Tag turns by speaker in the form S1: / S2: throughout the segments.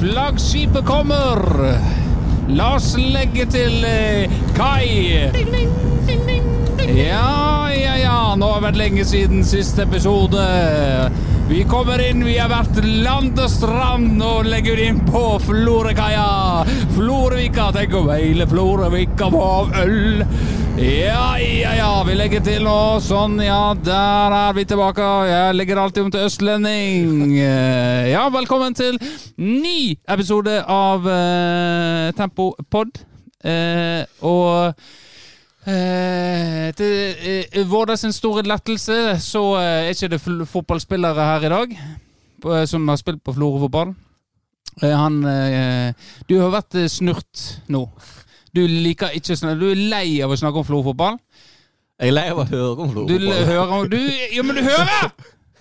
S1: Flaggskipet kommer! La oss legge til eh, kai. Ja, ja, ja. Nå har det vært lenge siden siste episode. Vi kommer inn, vi har vært land og strand og legger inn på Florøkaia. Florøvika, tenk om hele Florøvika var øl. Ja, ja, ja, vi legger til nå. Sånn, ja, der er vi tilbake. Jeg legger alltid om til østlending. Eh, Ja, velkommen til ny episode av eh, Tempo Pod. Eh, og Eh, til eh, Vårda sin store lettelse så eh, er ikke det fl- fotballspillere her i dag på, eh, som har spilt på Florø fotball. Eh, han eh, Du har vært eh, snurt nå. Du liker ikke snurt. Du er lei av å snakke om Florø fotball.
S2: Jeg er lei av å høre om
S1: Du l-
S2: Florø.
S1: hører om du, Ja, men du hører!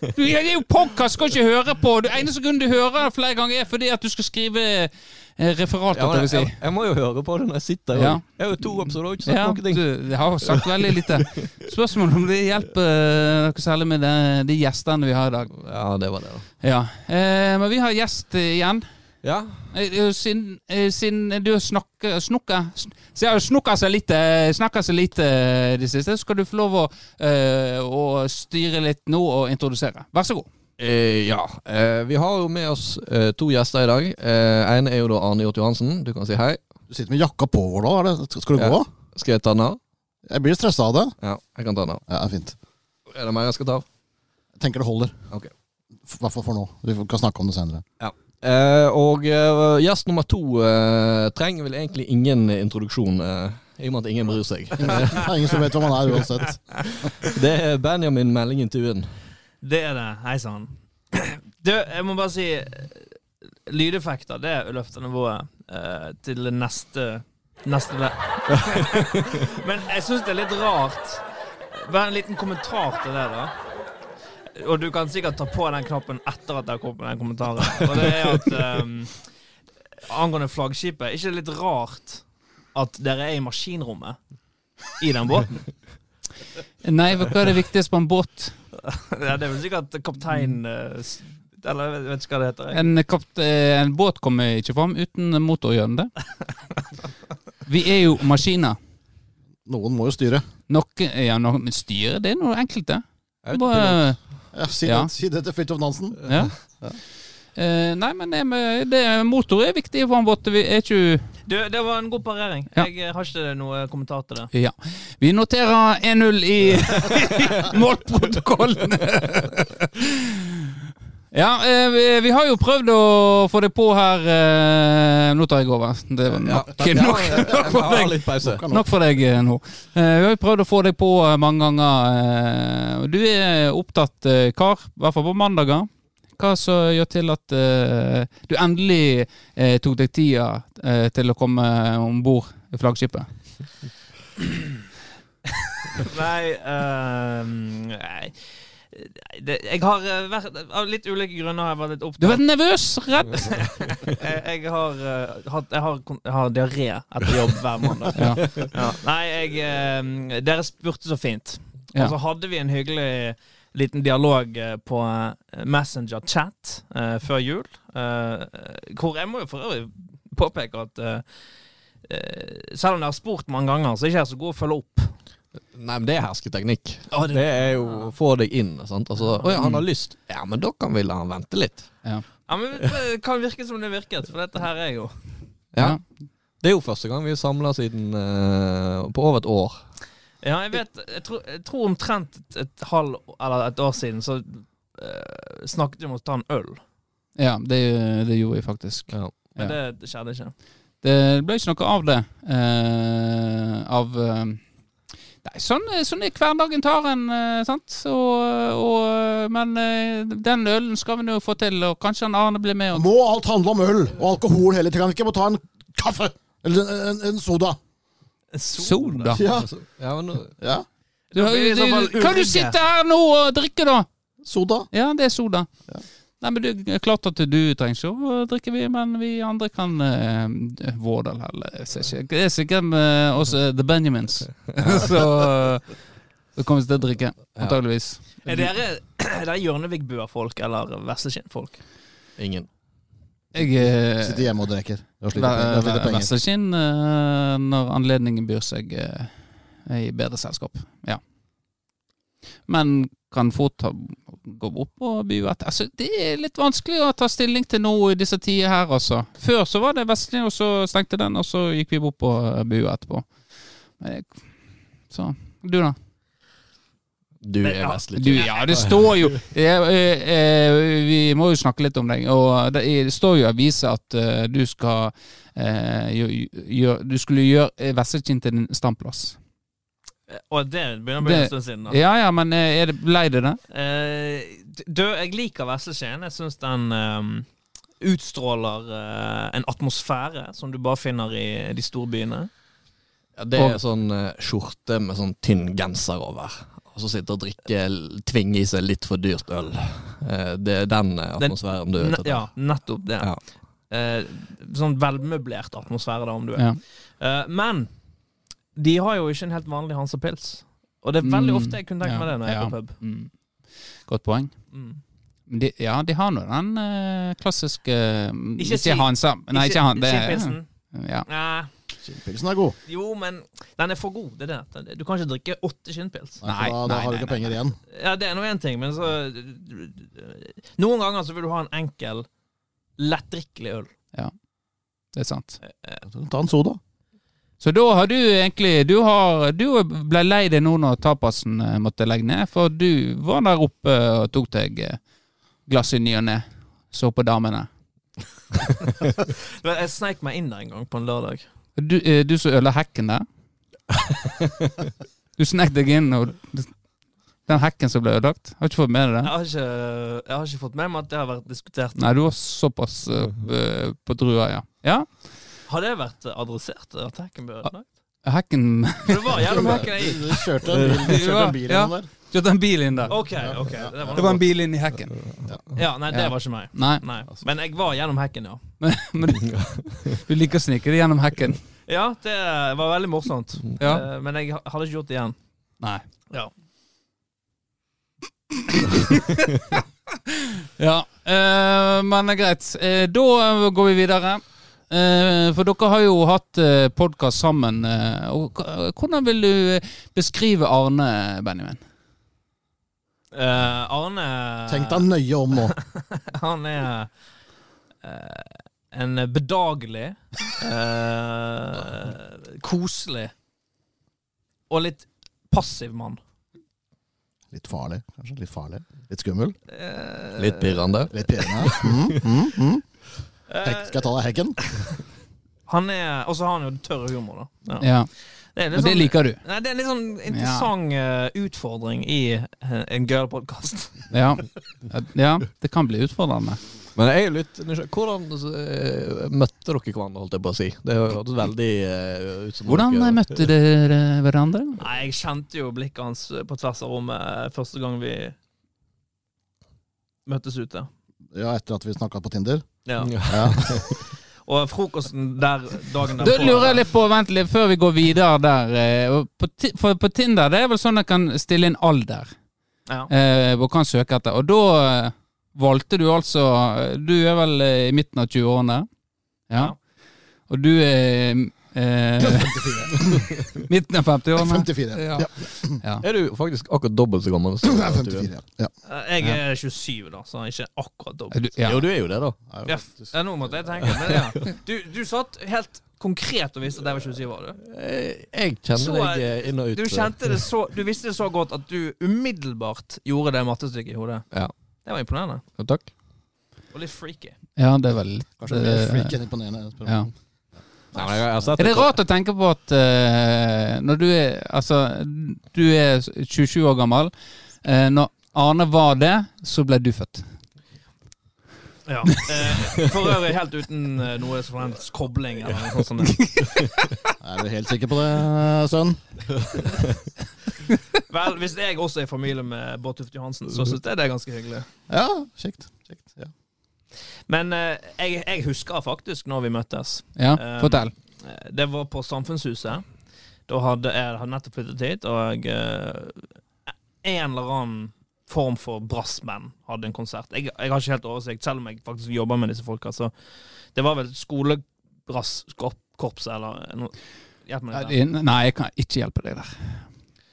S1: Du, det er jo podkast, skal ikke høre på. Det eneste grunnen du hører flere ganger, er fordi at du skal skrive eh, referat.
S2: Ja,
S1: dette
S2: men
S1: vil si.
S2: jeg, jeg må jo høre på det når jeg sitter her.
S1: Ja.
S2: Jeg har jo to episoder og ikke
S1: Ja,
S2: snakket noen ting.
S1: du, jeg har sagt veldig lite. Spørsmålet om det hjelper eh, noe særlig med de, de gjestene vi har i dag.
S2: Ja, det var det. da.
S1: Ja, eh, Men vi har gjest eh, igjen.
S2: Ja,
S1: Eh, eh, Siden, eh, siden du snakker snukka, sn- Så jeg har snukka seg lite snakka seg lite i det siste, så skal du få lov å, eh, å styre litt nå og introdusere. Vær så god.
S2: eh, ja. Eh, vi har jo med oss eh, to gjester i dag. Eh, en er jo da Arne Hjort Johansen. Du kan si hei.
S3: Du sitter med jakka på vår nå, er det? Skal- skal du gå?
S2: Skal jeg ta den av?
S3: Jeg blir stressa av det.
S2: Ja, jeg kan ta den av.
S3: Ja, det er fint.
S2: Er det mer jeg skal ta av?
S3: Jeg tenker det holder.
S2: Ok.
S3: I hvert fall for nå. Vi får- kan snakke om det senere.
S2: Eh, og eh, gjest nummer to eh, trenger vel egentlig ingen introduksjon, eh, i og med at ingen bryr seg.
S3: Ingen, det er ingen som vet hvem han er uansett.
S2: Det er Benjamin Meldingen Tuen.
S4: Det er det. Hei sann. Du, jeg må bare si eh, Lydeffekter, det løfter nivået eh, til neste Neste le... Men jeg syns det er litt rart. Bare en liten kommentar til det, da. Og du kan sikkert ta på den knappen etter at jeg har kommet med den kommentaren. Og det er at eh, Angående flaggskipet, er ikke det litt rart at dere er i maskinrommet i den båten?
S1: Nei, hva er det viktigste på en båt?
S4: Ja, det er vel sikkert kaptein eh, s- Eller jeg vet- vet ikke hva det heter. jeg.
S1: En, kapt, eh, en båt kommer ikke fram uten motor, gjør den det? Vi er jo maskiner.
S3: Noen må jo styre.
S1: Noe, ja, noe, men styre, det er noe enkelte.
S2: Jeg vet ikke.
S1: Bare,
S3: Ja, si,
S1: Ja.
S3: Det, si det til Fridtjof Nansen.
S1: ja. Eh, nei, men det med, det med motor er viktig for en båt. Vi er ikke
S4: Du, det var en god parering.
S1: Ja.
S4: Jeg eh, har ikke noe kommentar til det.
S1: Ja. Vi noterer 1-0 i målprotokollen. ja, eh, vi, vi har jo prøvd å få det på her eh, Nå tar jeg over. Det var
S2: Ja.
S1: nok, nok,
S2: Ja, jeg-
S1: nok
S2: jeg
S1: for
S2: må ha
S1: deg.
S2: litt pause.
S3: Kan
S1: Nok for deg eh, nå. Eh, Vi har jo prøvd å få deg på eh, mange ganger. eh, og Du er opptatt eh, kar, i hvert fall på mandager. Hva som gjør til at eh, du endelig eh, tok deg tida eh, til å komme om bord i flaggskipet?
S4: Nei, ehm, nei. Det, jeg har eh, vært Av litt ulike grunner har jeg vært litt
S1: Du har
S4: opptatt.
S1: vært nervøs, redd.
S4: Jeg, jeg har eh, hatt Jeg har, kon- jeg har diaré etter jobb hver måned.
S1: Ja.
S4: Ja. Nei, jeg eh, Dere spurte så fint.
S1: Ja.
S4: Og så hadde vi en hyggelig liten dialog eh, på eh, Messenger-chat eh, før jul. eh, hvor jeg må jo for øvrig påpeke at eh, eh, selv om dere har spurt mange ganger, så er ikke jeg så god å følge opp.
S2: Nei, men det er hersketeknikk.
S4: Å,
S2: Det er jo å få deg inn. Sant? Altså, Å ja, han har lyst. Ja, men da kan vi la han vente litt.
S4: Ja, men Det kan virke som det virket, for dette her er jo
S2: Ja. Det er jo første gang vi er samla siden eh, på over et år.
S4: Ja, jeg vet Jeg tror, jeg tror omtrent et, et halv eller et år siden så eh, snakket vi om å ta en øl.
S1: Ja, det, det gjorde jeg faktisk.
S2: Ja.
S4: Men
S1: Ja.
S4: det skjedde ikke.
S1: Det ble ikke noe av det. Eh, av eh, Nei, sånn, sånn er hverdagen tar en, eh, sant. Og, og, men eh, den ølen skal vi nå få til, og kanskje han Arne blir med. Og,
S3: Må alt handle om øl og alkohol hele tiden? Kan vi ikke bare ta en kaffe? Eller en, en, en soda?
S1: soda.
S3: Ja.
S2: Altså, ja, men, nå-
S3: ja.
S1: Du,
S4: Da blir det i så
S1: du,
S4: fall
S1: kan du
S4: urige.
S1: sitte her nå og drikke, da?
S3: Soda.
S1: Ja, det er soda. Nei, men du, Klart at du trenger ikke å drikke, vi, men vi andre kan eh, Vårdal eller jeg ser ikke. Det er sikkert eh, også The Benjamins. Så eh, det kommer vi til å drikke, antageligvis.
S4: Er dere, er dere Hjørnevik-buer-folk eller Veslekind-folk?
S2: ingen.
S1: Jeg eh,
S3: Sitter hjemme og drikker. Det er slik-
S1: Vær-
S3: det
S1: vær-
S3: er lite penger.
S1: Vesleskinn eh, når anledningen byr seg eh, i bedre selskap. Ja. Men kan fort ha, gå opp og by etter. Altså, det er litt vanskelig å ta stilling til nå i disse tider her, altså. Før så var det Vesleskinn, og så stengte den, og så gikk vi opp og eh, bua etterpå. Men jeg, så du, da?
S2: Du er
S4: Ja.
S2: vestlig.
S1: Du, ja, det står jo jeg, eh, eh, Vi må jo snakke litt om deg. Og det er- det står jo i avisa at eh, du skal eh, gjø- gjø- Du skulle gjøre Vestekinn til din standplass.
S4: Og det begynner å bli
S1: Det-
S4: en stund siden. da
S1: Ja ja, men eh, er det, ble det det?
S4: Eh, du, jeg liker Vesleskien. Jeg syns den ehm, utstråler eh, en atmosfære som du bare finner i de store byene.
S2: Ja, det er sånn eh, skjorte med sånn tynn genser over. Og så sitte og drikke, l- tvinge i seg litt for dyrt øl. Eh, Det er den eh,
S4: Den-
S2: atmosfæren du er ute
S4: Ne- ja, nettopp det.
S2: Ja.
S4: Eh, sånn velmøblert atmosfære, da, om du vil.
S1: Ja.
S4: Eh, men de har jo ikke en helt vanlig Hansa Pils. Og det er veldig
S1: Mm,
S4: ofte jeg kunne tenkt meg det når jeg er
S1: ja,
S4: på pub.
S1: Mm. Godt poeng.
S4: Mm.
S1: Men De, ja, de har nå den eh, klassiske Ikke,
S4: si-
S1: ikke Hansa. Nei, ikke han. Det,
S4: Skipilsen?
S1: ja.
S4: Nei.
S3: Skinnpilsen er god.
S4: Jo, men den er for god. Det er det. Du kan ikke drikke åtte skinnpils.
S3: Nei,
S1: Nei,
S3: for da, da
S1: nei,
S3: har du
S1: nei,
S3: ikke penger igjen.
S4: Ja, det er nå én ting, men så Noen ganger så vil du ha en enkel, lettdrikkelig øl.
S1: det er sant.
S3: Ta en soda.
S1: Så da har du egentlig Du, har, du ble lei deg nå når tapasen eh, måtte legge ned, for du var der oppe og tok deg eh, glass i ny og ne. Så på damene.
S4: Du vet, Jeg sneik meg inn der en gang på en lørdag.
S1: Du, eh, du som ødela hekken der. Du snek deg inn, og den hekken som ble ødelagt, har ikke fått med deg
S4: Jeg
S1: det?
S4: har ikke, jeg har ikke fått med meg at det har vært diskutert.
S1: Nei, du var såpass eh, eh, på drua, ja. Ja,
S4: Har det vært adressert? At hekken ble ødelagt?
S1: Ah. hekken
S4: For det var gjennom hekken jeg gikk.
S3: Du kjørte en bil, du kjørte en bil
S1: Ja.
S3: gjennom der.
S1: Kjørte en bil inn der.
S4: OK, ok. Det var,
S1: Det var en
S4: noe.
S1: bil inn i hekken.
S4: Ja, nei, det
S1: Ja.
S4: var ikke meg.
S1: Nei,
S4: Nei. Men jeg var gjennom hekken, ja.
S1: men du, du liker å snike deg gjennom hekken.
S4: Ja, det var veldig morsomt.
S1: Ja.
S4: Eh, Men jeg hadde ikke gjort det igjen.
S1: Nei.
S4: Ja.
S1: Ja, eh, men det er greit. Eh, da eh, går vi videre. Eh, for dere har jo hatt eh, podkast sammen. Eh, og, k- hvordan vil du eh, beskrive Arne, Benjamin?
S4: Eh, Arne
S3: Tenk deg nøye om nå.
S4: Han er eh, en bedagelig, eh, koselig og litt passiv mann.
S3: Litt farlig, kanskje. Litt farlig. Litt skummel.
S4: Eh,
S2: etter. Eh, Litt pirrende.
S3: Litt pirrende. Mm, mm, mm. Hek,
S4: eh,
S3: skal jeg ta deg hekken?
S4: han er Og så har han jo tørr humor, da.
S1: Ja,
S4: Det er sånn-
S1: Og det liker du.
S4: Nei, det er en litt sånn interessant eh, utfordring i eh, en girl-podkast.
S1: Ja. ja, det kan bli utfordrende.
S2: Men jeg er jo litt nysgjerrig. Hvordan eh, møtte dere hverandre, holdt jeg på å si? Det hørtes veldig eh, ut som
S1: Hvordan
S2: dere-
S1: møtte dere hverandre?
S4: Nei, jeg kjente jo blikket hans eh, på tvers av rommet eh, første gang vi møttes ute.
S3: Ja, etter at vi snakka på Tinder.
S4: Ja.
S3: Ja.
S4: Og frokosten der dagen
S1: Da lurer jeg litt på, vent litt, før vi går videre der. eh, og På, Ti- for på Tinder det er vel sånn at kan stille inn alder.
S4: Ja.
S1: eh, og kan søke etter. Og da eh, valgte du altså Du er vel eh, i midten av 20-årene? Ja.
S4: Ja.
S1: Og du er eh,
S3: 54.
S1: midten av 50-årene?
S3: 54.
S1: Sånn, Ja.
S3: Ja.
S2: Er du faktisk akkurat dobbelt så gammel? som
S3: Jeg er
S2: du er?
S3: 54. Ja.
S4: eh, Jeg er 27, da, så han er ikke akkurat
S1: Er
S4: dobbelt.
S1: du- Ja.
S2: Jo, du er jo det, da.
S3: Jeg er
S4: Ja,
S3: jo
S4: f-
S3: faktisk-
S4: ja, nå måtte jeg tenke. Men ja. du, du satt helt konkret og visste at jeg var 27 år. Du.
S2: Eh, Jeg kjenner
S4: Så,
S2: deg eh, inn og ut.
S4: Du, kjente det så, du visste det så godt at du umiddelbart gjorde det mattestykket i hodet.
S2: Ja.
S4: Det var imponerende.
S2: Ja, Takk.
S4: Og litt freaky.
S1: ja, det er vel litt
S3: Kanskje mer
S1: eh,
S3: freak enn imponerende. spør du.
S1: ja.
S2: Nei, men jeg har sett
S1: Er det rart å tenke på at eh, når du er Altså, du er 27 år gammel. Eh, når Arne var det, så ble du født.
S4: Ja. Eh, for øvrig helt uten eh, noe som helst kobling eller noe sånt. som det.
S3: Er du helt sikker på det, sønn?
S4: Vel, hvis jeg også er i familie med Bård Tufte Johansen, så syns jeg det er ganske hyggelig.
S3: Ja, kjekt. kjekt. Ja.
S4: Men eh, jeg, jeg husker faktisk når vi møttes.
S1: Ja,
S4: Eh,
S1: fortell.
S4: Eh, Det var på Samfunnshuset. Da hadde jeg hadde nettopp flyttet hit, og jeg, eh, en eller annen form for brassband hadde en konsert. Jeg, jeg har ikke helt oversikt, selv om jeg faktisk jobber med disse folka. Så det var vel skolebrasskorps eller noe. Hjelp meg litt.
S1: Eh, Nei, jeg kan ikke hjelpe deg der.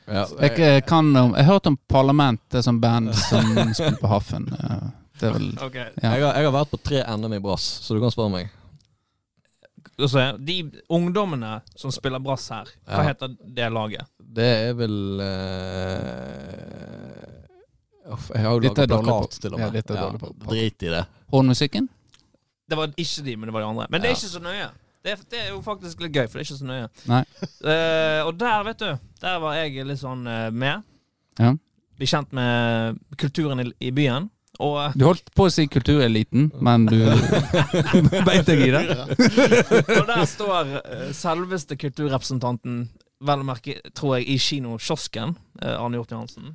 S2: Ja,
S1: Jeg, eh, kan om, jeg har hørt om Parlament, det er sånn band som spiller på Haffen. eh, Det er vel
S4: der. Ok.
S1: Ja.
S2: Jeg har, jeg har vært på tre NM i brass, så du kan spørre meg.
S4: Altså, de ungdommene som spiller brass her, hva
S2: Ja.
S4: heter det laget?
S2: Det er vel eh, uff, Jeg har jo
S1: Dette er
S2: laget
S1: dårlig
S2: plakat,
S1: på-
S2: til og
S1: ja,
S2: med.
S1: dette er dårlig på- på-
S2: Drit i det.
S1: Hornmusikken?
S4: Det var ikke de, men det var de andre. Men det er
S2: Ja.
S4: ikke så nøye. Det er, det er jo faktisk litt gøy, for det er ikke så nøye.
S1: Nei.
S4: Eh, og der, vet du, der var jeg litt sånn eh, med.
S1: Ja.
S4: Bli kjent med kulturen i, i byen. Og eh,
S1: Du holdt på å si kultureliten, men du beit deg i det.
S4: Og der står eh, selveste kulturrepresentanten, vel å merke, tror jeg, i kinokiosken. eh, Arne Hjort Johansen.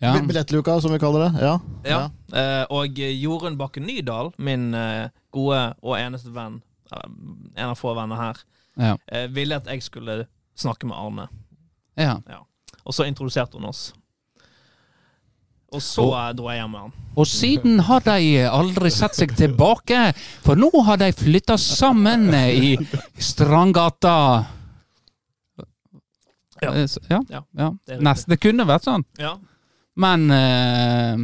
S1: Ja.
S3: Bi- Billettluka, som vi kaller det. Ja.
S4: Ja. Eh, og Jorunn Bakke Nydal, min eh, gode og eneste venn, eh, en av få venner her,
S1: Ja.
S4: eh, ville at jeg skulle snakke med Arne.
S1: ja.
S4: Og så introduserte hun oss. Og så eh, dro jeg hjem med han.
S1: Og siden har de aldri sett seg tilbake, for nå har de flytta sammen i Strandgata.
S4: Ja.
S1: Eh, s- ja.
S4: Ja,
S1: ja.
S4: det er riktig.
S1: Nest, det kunne vært sånn,
S4: Ja.
S1: men eh,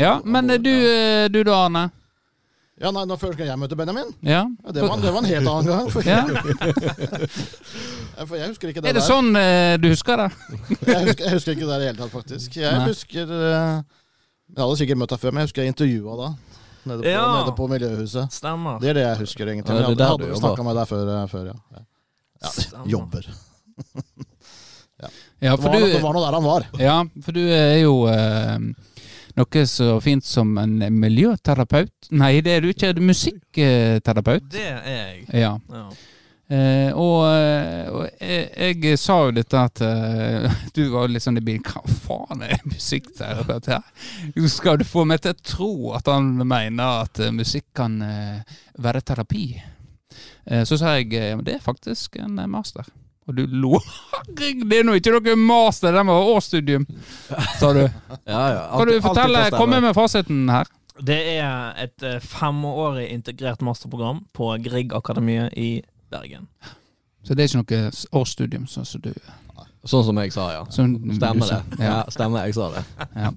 S1: Ja, men eh, du, eh, du da, Arne?
S3: Ja, nei, nå før skal jeg møte Benjamin.
S1: Ja.
S3: Ja, det, var, det var en helt annen gang. For,
S1: Ja.
S3: for jeg husker ikke det,
S1: Er det
S3: der.
S1: sånn eh, du husker det?
S3: Jeg husker, jeg husker ikke det der i det hele tatt, faktisk. Jeg
S1: Nei.
S3: husker eh, Jeg hadde sikkert møtt deg før, men jeg husker jeg intervjua da. Nede på,
S4: Ja.
S3: nede på Miljøhuset.
S4: Stemmer.
S3: Det er det jeg husker, egentlig.
S2: Ja, det er
S3: Men
S2: der
S3: jeg
S2: du
S3: hadde, hadde
S2: jobber.
S3: snakka med deg før, eh, før ja. ja.
S4: Stemmer.
S3: Jobber.
S1: Ja,
S3: Det var, noe- det var noe der han var.
S1: Ja, for du er jo eh, noe så fint som en miljøterapeut. Nei, det er du ikke. Du er musikkterapeut.
S4: Det er jeg.
S1: Ja.
S4: Ja.
S1: Eh, og eh, og jeg, jeg sa jo dette at eh, du var litt sånn i bilen Hva faen er musikkterapeut her? Skal du få meg til å tro at han mener at eh, musikk kan eh, være terapi? Eh, så sa jeg eh, men det er faktisk en eh, master. Og du lo. Det er nå ikke noe master, det må være årsstudium, sa du.
S2: Ja, ja.
S1: Kan du fortelle, komme med fasiten her?
S4: Det er et eh, femårig integrert masterprogram på Grieg Akademiet i Bergen.
S1: Så det er ikke noe s- årsstudium, sånn som du
S2: Sånn som jeg sa, ja.
S1: som du
S2: Stemmer
S1: sa.
S2: det. Ja,
S1: Ja.
S2: stemmer jeg sa det.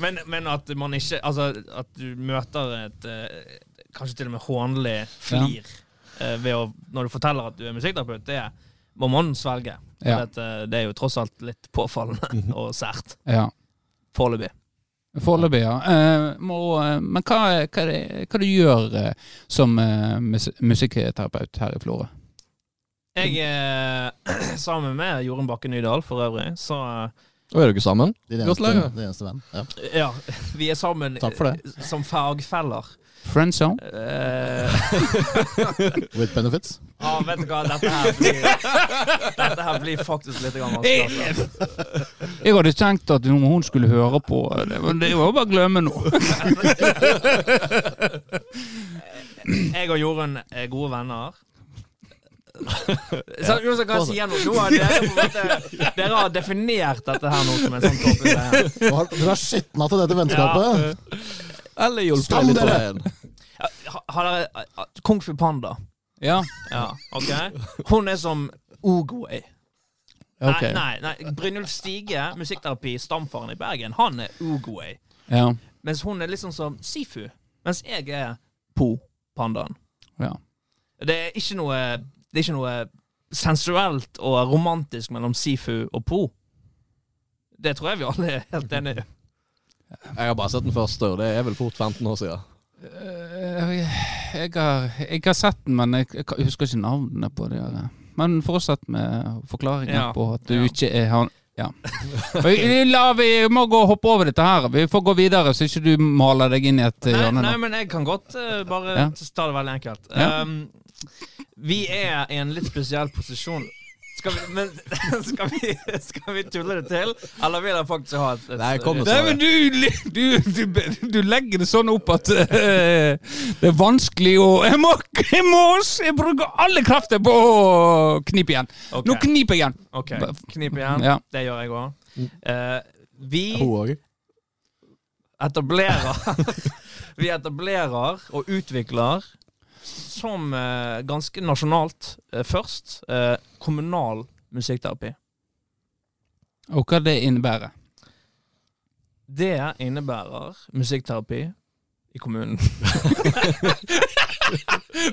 S4: Men, men at man ikke Altså, at du møter et eh, kanskje til og med hånlig flir eh, ved å, når du forteller at du er musikkterapeut, det må man svelge. For
S1: Ja.
S4: at, eh, det er jo tross alt litt påfallende og sært.
S1: ja.
S4: Foreløpig.
S1: Foreløpig, ja. Eh, må, eh, men hva, hva, er det- hva du gjør eh, som eh, mus musikkterapeut her i Florø?
S4: Jeg, eh, sammen med Jorunn Bakke Nydal for øvrig, så
S2: Og er dere sammen?
S3: Din
S2: Gratulerer.
S3: eneste, din eneste venn. Ja.
S4: eh, Ja, vi er sammen
S3: Takk for
S4: eh, som fagfeller.
S1: Friendzone?
S4: Eh,
S3: With benefits.
S4: Ja, Ah, vet du hva, dette her blir Dette her blir faktisk litt grann vanskelig. altså.
S1: Jeg hadde tenkt at noe hun skulle høre på, eh, det, men det var bare å glemme nå.
S4: Jeg og Jorunn er gode venner. Så, Jonas, hva jeg sier nå? nå har dere, på en måte, dere har definert dette her nå som en sånn topp. greie.
S3: Du har, du har skitna til dette
S4: eh.
S3: vennskapet.
S2: Eller hjulpet
S3: Skam
S2: deg litt på
S3: dere!
S2: veien?
S4: Ja, ha- Har dere ah, Kung Fu Panda?
S1: Ja,
S4: Ja, ok? Hun er som Oogway.
S1: ok.
S4: Nei, nei, nei. Brynjulf Stige, musikkterapi, stamfaren i Bergen, han er Oogway.
S1: Ja,
S4: Mens hun er liksom som Sifu. Mens jeg er Po Pandaen.
S1: ja.
S4: Det er ikke noe Det er ikke noe sensuelt og romantisk mellom Sifu og Po. Det tror jeg vi alle er helt enige i.
S2: Jeg har bare sett den første, og det er vel fort 15 år siden.
S1: Eh, Jeg har, jeg har sett den, men jeg, jeg husker ikke navnet på det. eller. Men fortsett med forklaringen
S4: Ja.
S1: på at du
S4: Ja.
S1: ikke er han. Ja. Vi- La, vi må gå og hoppe over dette her. Vi får gå videre, så ikke du maler deg inn i et eh,
S4: Nei,
S1: hjørne.
S4: nei,
S1: nå.
S4: men jeg kan godt eh, bare
S1: Ja.
S4: ta det veldig enkelt.
S1: Ja.
S4: Um, vi er i en litt spesiell posisjon. Skal vi, men, skal, vi, skal vi tulle det til, eller vil jeg faktisk ha et, et
S2: Nei, kom med
S1: Nei, men du, du, du, du legger det sånn opp at eh, det er vanskelig å Jeg må, jeg må Jeg bruker alle krefter på å knipe igjen.
S4: Ok.
S1: Nå kniper jeg igjen.
S4: Ok, knip igjen.
S1: Ja.
S4: Det gjør jeg òg. Eh, vi
S2: Hun òg.
S4: etablerer Vi etablerer og utvikler, som eh, ganske nasjonalt eh, først, eh, kommunal musikkterapi.
S1: Og hva det innebærer.
S4: Det innebærer musikkterapi i kommunen.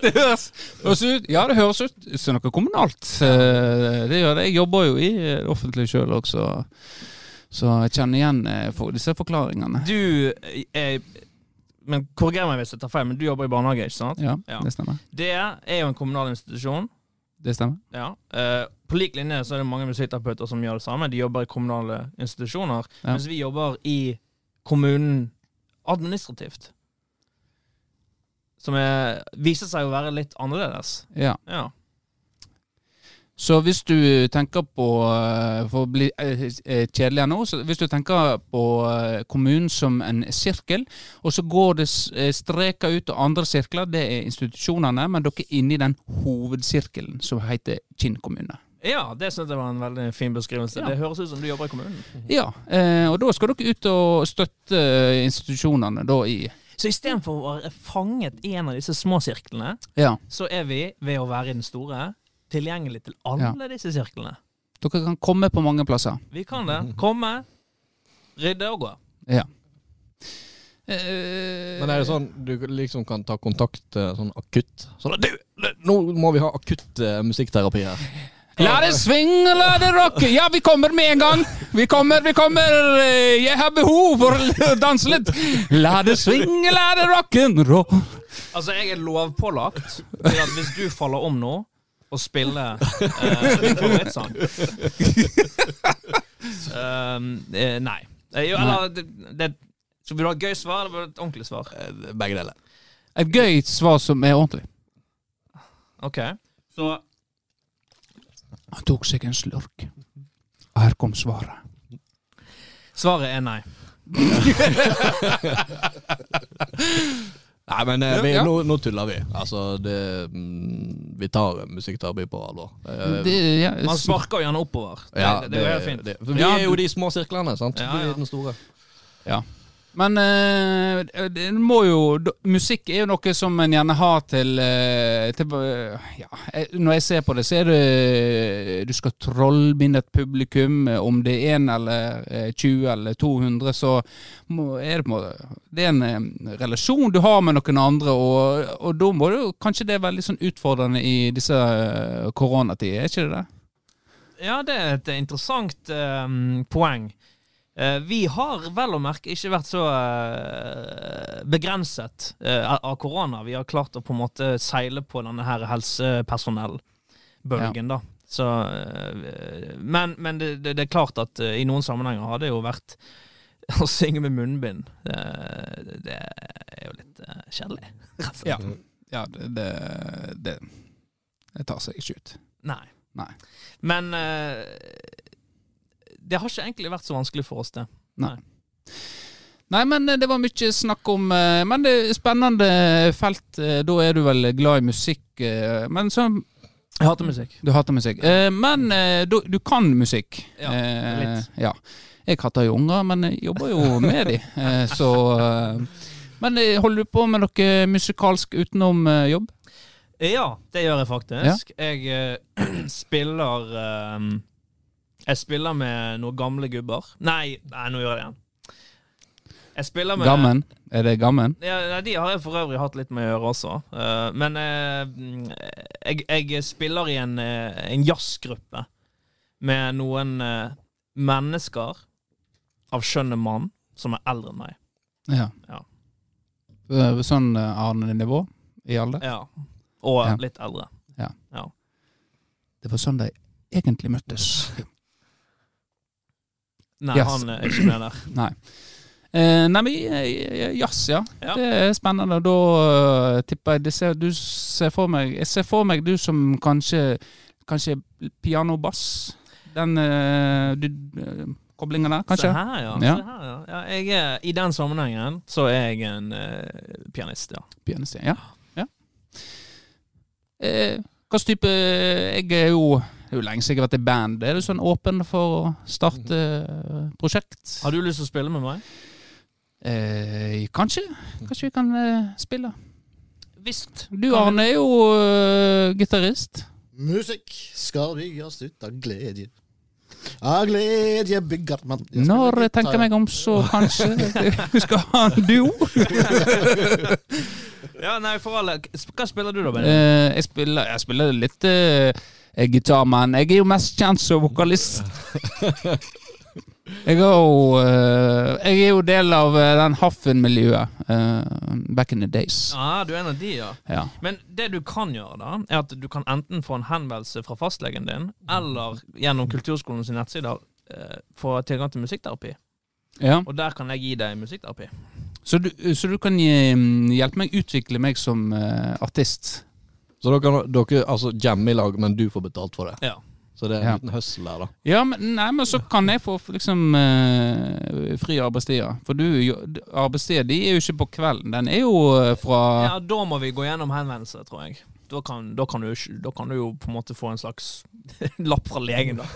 S1: Det høres, høres ut Ja, det høres ut som noe kommunalt. Eh, Det gjør det. Jeg jobber jo i eh, det offentlige sjøl også, så jeg kjenner igjen eh, for disse forklaringene.
S4: Du er men Korriger meg hvis jeg tar feil, men du jobber i barnehage, ikke sant?
S1: Ja,
S4: Ja.
S1: det stemmer.
S4: Det er jo en kommunal institusjon.
S1: Det stemmer.
S4: Ja. Eh, på lik linje så er det mange musikkterapeuter som gjør det samme. De jobber i kommunale institusjoner,
S1: Ja.
S4: mens vi jobber i kommunen administrativt. Som er, viser seg å være litt annerledes.
S1: Ja.
S4: Ja.
S1: Så hvis du tenker på eh, For å bli eh, eh, kjedelig her nå så Hvis du tenker på eh, kommunen som en sirkel, og så går det s- eh, streker ut og andre sirkler, det er institusjonene, men dere er inne i den hovedsirkelen som heter Kinn kommune.
S4: ja, det syns jeg var en veldig fin beskrivelse.
S1: Ja.
S4: Det høres ut som du jobber i kommunen.
S1: Ja, eh, og da skal dere ut og støtte eh, institusjonene da i
S4: Så istedenfor å være fanget i en av disse små sirklene,
S1: Ja.
S4: så er vi, ved å være i den store, tilgjengelig til alle disse sirklene.
S1: Dere kan komme på mange plasser.
S4: Vi kan det. Komme, rydde og gå.
S1: Ja.
S2: Men er det sånn du liksom kan ta kontakt eh, sånn akutt? Sånn, du, du, nå må vi ha akutt eh, musikkterapi her.
S1: La det svinge, la det rocke! Ja, vi kommer med en gang! Vi kommer, vi kommer! Eh, Jeg har behov for å danse litt! La det svinge, la det rock'n'roll!
S4: Altså, jeg er lovpålagt til at hvis du faller om nå og spiller eh, din favorittsang Ehm, eh, Nei. Eh, Jo, eller det, det, Skal vi ha et gøy svar eller et ordentlig svar?
S2: Eh, Begge deler.
S1: Et gøy svar som er ordentlig.
S4: OK. Så
S1: Han tok seg en slurk. Og her kom svaret.
S4: svaret er nei.
S2: Nei, men eh, vi,
S1: Ja.
S2: nå, nå tuller vi. Altså, det mm, Vi tar eh, musikkterapi på alvor. Eh,
S1: Det, ja,
S4: Man sparker jo gjerne oppover. Det,
S2: ja,
S4: det, det er jo helt fint.
S2: det- for vi
S1: Ja,
S2: er jo de små sirklene, sant?
S4: Ja,
S2: Vi
S4: ja.
S2: er den store.
S1: Men eh, det må jo d- Musikk er jo noe som en gjerne har til, eh, til eh, ja, eh, Når jeg ser på det, så er det Du skal trollbinde et publikum. eh, Om det er én eller eh, 20 eller 200, så må, er det på en måte Det er en eh, relasjon du har med noen andre, og, og da må du Kanskje det er veldig sånn utfordrende i disse eh, koronatider, er ikke det det?
S4: Ja, det er et interessant eh, poeng. Eh, vi har vel å merke ikke vært så eh, begrenset eh, av korona. Vi har klart å på en måte seile på denne her helsepersonellbølgen, da. Så, eh, men men det, det, det er klart at eh, i noen sammenhenger har det jo vært å synge med munnbind. Eh, det er jo litt eh, kjedelig. rett og slett.
S1: Ja. ja det, det, det, det tar seg ikke ut.
S4: Nei.
S1: Nei.
S4: Men eh, det har ikke egentlig vært så vanskelig for oss, det.
S1: Nei, men eh, det var mye snakk om eh, Men det er spennende felt. eh, Da er du vel glad i musikk. eh, Men så,
S4: Jeg hater musikk.
S1: du hater musikk. Eh, Men eh, du, du kan musikk.
S4: Ja,
S1: Eh,
S4: litt.
S1: Ja. Jeg hater jo unger, men jeg jobber jo med de. eh, Så eh, Men eh, holder du på med noe musikalsk utenom eh, jobb?
S4: Ja, det gjør jeg faktisk. Jeg eh, spiller eh, Jeg spiller med noen gamle gubber. Nei, nei, nå gjør jeg det igjen. Jeg spiller med
S1: Gammen? Er det gammen?
S4: Ja, nei, de har jeg for øvrig hatt litt med å gjøre også. Eh, men eh, jeg, jeg spiller i en, eh, en jazzgruppe med noen eh, mennesker av skjønne mann som er eldre enn meg.
S1: Ja.
S4: Ja.
S1: Eh, Sånn eh, Arne-nivå i alder?
S4: Ja. Og
S1: Ja.
S4: litt eldre.
S1: Det var sånn de egentlig møttes.
S4: Nei,
S1: Yes.
S4: han er ikke med der.
S1: Nei. Eh, nei, men eh, jazz, ja.
S4: Ja.
S1: Det er spennende. Da eh, tipper jeg det ser, du ser for meg Jeg ser for meg du som kanskje Kanskje piano-bass. Den eh, du, eh, koblinga der, kanskje?
S4: Se her, ja.
S1: Ja.
S4: Se her, ja. ja jeg er, I den sammenhengen så er jeg en eh, pianist, ja.
S1: Pianist, ja. ja. Eh, hva slags type Jeg er jo det er jo lenge siden jeg har vært i band. Er du sånn åpen for å starte eh, prosjekt?
S4: Har du lyst til å spille med meg?
S1: Eh, kanskje. Kanskje vi kan eh, spille.
S4: Visst.
S1: Du Arne er jo eh, gitarist.
S3: Musikk skal bygges ut av glede. Av glede bygger man Jeg spiller
S1: Når jeg
S3: gitar.
S1: tenker meg om, så kanskje vi skal ha en duo.
S4: Ja, nei, for alle. Hva spiller du da, Benny?
S1: Eh, jeg, spiller, jeg spiller litt eh, gitar, men jeg er jo mest kjent som vokalist. Jeg er jo, eh, jeg er jo del av eh, den Haffen-miljøet. eh, back in the days.
S4: Ah, du er en av de, ja.
S1: Ja.
S4: Men det du kan gjøre, da, er at du kan enten få en henvendelse fra fastlegen din, eller gjennom Kulturskolens nettsider eh, få tilgang til musikkterapi.
S1: ja.
S4: Og der kan jeg gi deg musikkterapi.
S1: Så, du, så du kan eh, hjelpe meg utvikle meg som eh, artist?
S2: Så dere, kan- dere altså, jammer i lag, men du får betalt for det.
S4: Ja.
S2: Så det er en
S1: Ja.
S2: liten høssel her, da.
S1: Ja, men, nei, men så kan jeg få liksom eh, fri arbeidstider. For du, jo- d- arbeidstida di er jo ikke på kvelden. Den er jo eh, fra
S4: ja, da må vi gå gjennom henvendelse, tror jeg. Da kan, da, kan du, ikke- da kan du jo på en måte få en slags lapp fra legen, da.